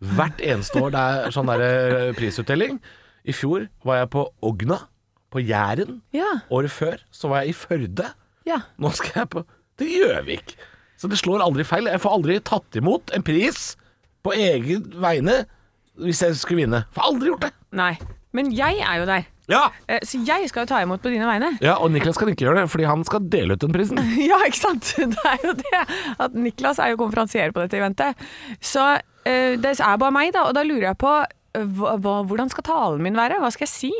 [SPEAKER 4] hvert eneste år det er sånn der eh, prisutdeling. I fjor var jeg på Ogna, på Jæren.
[SPEAKER 3] Ja,
[SPEAKER 4] Året før så var jeg i Førde.
[SPEAKER 3] ja.
[SPEAKER 4] Nå skal jeg på til Gjøvik. Så det slår aldri feil. Jeg får aldri tatt imot en pris på egen vegne hvis jeg skulle vinne. Får aldri gjort det.
[SPEAKER 3] Nei. Men jeg er jo der.
[SPEAKER 4] Ja!
[SPEAKER 3] Eh, Så jeg skal jo ta imot på dine vegne.
[SPEAKER 4] ja, og Niklas kan ikke gjøre det, fordi han skal dele ut den prisen.
[SPEAKER 3] Ja, ikke sant? Det er jo det. At Niklas er jo konferansier på dette eventet. Så eh, det er bare meg, da. Og da lurer jeg på eh, hva, hva- hvordan skal talen min være? Hva skal jeg si?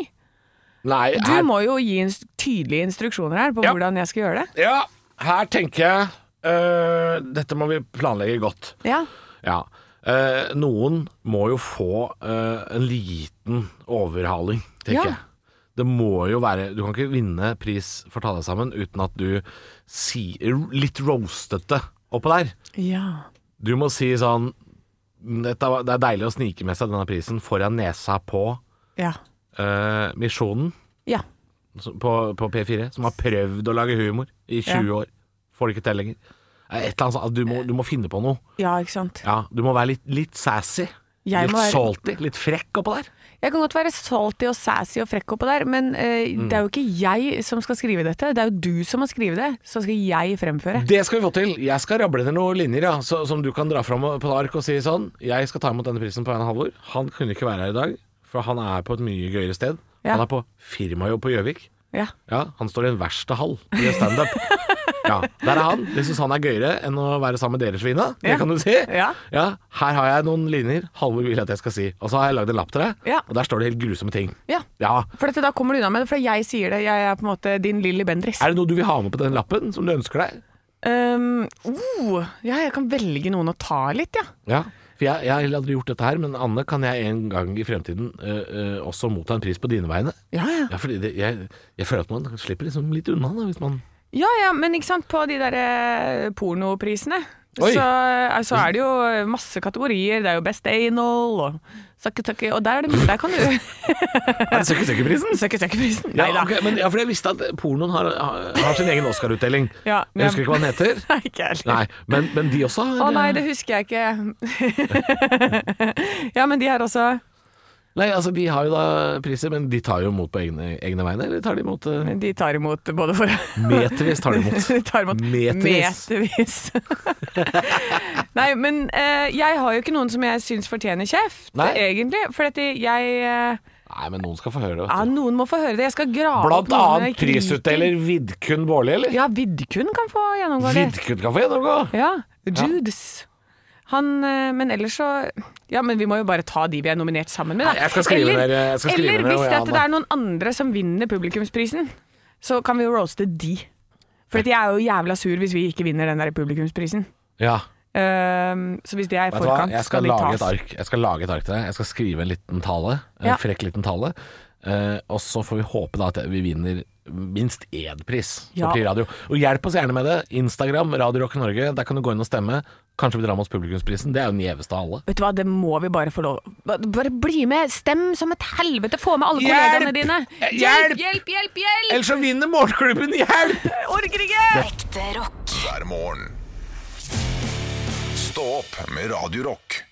[SPEAKER 4] Nei,
[SPEAKER 3] Du
[SPEAKER 4] her,
[SPEAKER 3] må jo gi ins tydelige instruksjoner her på
[SPEAKER 4] Ja.
[SPEAKER 3] hvordan jeg skal gjøre det.
[SPEAKER 4] ja, her tenker jeg øh, Dette må vi planlegge godt.
[SPEAKER 3] Ja.
[SPEAKER 4] Ja. Eh, noen må jo få eh, en liten overhaling, tenker
[SPEAKER 3] Ja.
[SPEAKER 4] jeg. Det må jo være Du kan ikke vinne pris for Ta deg sammen uten at du sier litt roastete oppå der.
[SPEAKER 3] ja.
[SPEAKER 4] Du må si sånn dette, var- Det er deilig å snike med seg denne prisen foran nesa på
[SPEAKER 3] Ja.
[SPEAKER 4] eh, Misjonen
[SPEAKER 3] Ja.
[SPEAKER 4] som- på, på P4, som har prøvd å lage humor i 20
[SPEAKER 3] Ja.
[SPEAKER 4] år. Får det ikke til lenger. Eh, Et eller annet sånt. Du må, du må finne på noe.
[SPEAKER 3] Ja, ikke sant.
[SPEAKER 4] Ja, du må være litt, litt sassy.
[SPEAKER 3] Jeg
[SPEAKER 4] litt
[SPEAKER 3] må være-
[SPEAKER 4] salty. Litt frekk oppå der.
[SPEAKER 3] Jeg kan godt være salty og sassy og frekk oppå der, men eh,
[SPEAKER 4] Mm.
[SPEAKER 3] det er jo ikke jeg som skal skrive dette. Det er jo du som har skrevet det, så skal jeg fremføre.
[SPEAKER 4] Det skal vi få til. Jeg skal rable ned noen linjer ja, så, som du kan dra fram på et ark og si sånn Jeg skal ta imot denne prisen på en halvår. Han kunne ikke være her i dag, for han er på et mye gøyere sted.
[SPEAKER 3] Ja.
[SPEAKER 4] Han er på firmajobb på Gjøvik.
[SPEAKER 3] Ja.
[SPEAKER 4] Ja, han står i en verkstedhall og gjør standup. Ja, der er han. Det syns han er gøyere enn å være sammen med dere svina. Det
[SPEAKER 3] Ja.
[SPEAKER 4] kan du si.
[SPEAKER 3] Ja.
[SPEAKER 4] Her har jeg noen linjer Halvor vil at jeg skal si. Og så har jeg lagd en lapp til deg,
[SPEAKER 3] Ja.
[SPEAKER 4] og der står det helt grusomme ting.
[SPEAKER 3] Ja.
[SPEAKER 4] Ja.
[SPEAKER 3] For dette, da kommer du unna med det, for jeg sier det. Jeg er på en måte din Lilly Bendriss.
[SPEAKER 4] Er det noe du vil ha med på den lappen, som du ønsker deg?
[SPEAKER 3] Um, oh, ja, jeg kan velge noen å ta litt, ja.
[SPEAKER 4] Ja. For jeg, jeg har heller aldri gjort dette her, men Anne, kan jeg en gang i fremtiden eh, eh, også motta en pris på dine vegne?
[SPEAKER 3] Ja, ja.
[SPEAKER 4] Ja, fordi det, jeg, jeg føler at man slipper liksom litt unna, da, hvis man
[SPEAKER 3] Ja, ja, men ikke sant, på de der eh, pornoprisene
[SPEAKER 4] Oi.
[SPEAKER 3] så, eh, så er det jo masse kategorier. Det er jo Best Anal og Sucky Sucky, og der er det mye. Der kan du
[SPEAKER 4] Er det Søkkesøkkeprisen?
[SPEAKER 3] Sucky Sucky-prisen.
[SPEAKER 4] Ja,
[SPEAKER 3] Nei da.
[SPEAKER 4] ok, men, ja, for jeg visste at pornoen har, har, har sin egen Oscar-utdeling.
[SPEAKER 3] Ja, men-
[SPEAKER 4] jeg husker ikke hva den heter.
[SPEAKER 3] Nei, ikke jeg heller.
[SPEAKER 4] Nei, men, men de også har eh,
[SPEAKER 3] Å nei, det husker jeg ikke. ja, men de her også.
[SPEAKER 4] Nei, altså De har jo da priser, men de tar jo imot på egne, egne vegne, eller tar de imot eh,
[SPEAKER 3] De tar imot både for
[SPEAKER 4] Metervis tar de imot.
[SPEAKER 3] De tar imot
[SPEAKER 4] Metervis.
[SPEAKER 3] metervis. Nei, men eh, jeg har jo ikke noen som jeg syns fortjener kjeft,
[SPEAKER 4] Nei.
[SPEAKER 3] egentlig. For at jeg eh,
[SPEAKER 4] Nei, men noen skal få høre det.
[SPEAKER 3] Ja,
[SPEAKER 4] vet du.
[SPEAKER 3] noen må få høre det. Jeg skal grave opp
[SPEAKER 4] Blant
[SPEAKER 3] noen jeg
[SPEAKER 4] annet
[SPEAKER 3] Ah, ikke liker.
[SPEAKER 4] prisutdeler Vidkun Baarli, eller?
[SPEAKER 3] Ja, Vidkun kan få gjennomgå det.
[SPEAKER 4] Vidkun kan få gjennomgå!
[SPEAKER 3] Ja, Judas. Han, eh, men ellers så Ja, men vi må jo bare ta de vi er nominert sammen med, da.
[SPEAKER 4] Nei, jeg skal skrive
[SPEAKER 3] eller,
[SPEAKER 4] ned- jeg skal skrive
[SPEAKER 3] eller
[SPEAKER 4] ned,
[SPEAKER 3] hvis
[SPEAKER 4] og
[SPEAKER 3] det,
[SPEAKER 4] ja,
[SPEAKER 3] at
[SPEAKER 4] da.
[SPEAKER 3] det er noen andre som vinner publikumsprisen, så kan vi jo roaste de. For at jeg er jo jævla sur hvis vi ikke vinner den der publikumsprisen.
[SPEAKER 4] Ja,
[SPEAKER 3] Ehm, så hvis det er i
[SPEAKER 4] vet du hva?
[SPEAKER 3] forkant,
[SPEAKER 4] Jeg
[SPEAKER 3] skal
[SPEAKER 4] skal,
[SPEAKER 3] de
[SPEAKER 4] lage
[SPEAKER 3] tas.
[SPEAKER 4] et ark. jeg skal lage et ark til deg. Jeg skal skrive en liten tale. En
[SPEAKER 3] Ja.
[SPEAKER 4] frekk liten tale. Eh, og så får vi håpe da at vi vinner minst én pris
[SPEAKER 3] Ja.
[SPEAKER 4] på Pri Radio. Og hjelp oss gjerne med det. Instagram, Radio Rock Norge. Der kan du gå inn og stemme. Kanskje vi drar med oss publikumsprisen. Det er jo den gjeveste av alle.
[SPEAKER 3] Vet du hva, det må vi bare få lov Bare bare bli med! Stem som et helvete! Få med alle
[SPEAKER 4] Hjelp!
[SPEAKER 3] kollegaene dine!
[SPEAKER 4] Hjelp!
[SPEAKER 3] Hjelp! Hjelp! Hjelp! hjelp!
[SPEAKER 4] Ellers så vinner Morgenklubben! Hjelp!
[SPEAKER 3] Jeg orker ikke!
[SPEAKER 1] Ekte rock.
[SPEAKER 2] hver morgen. Stå opp med Radio Rock.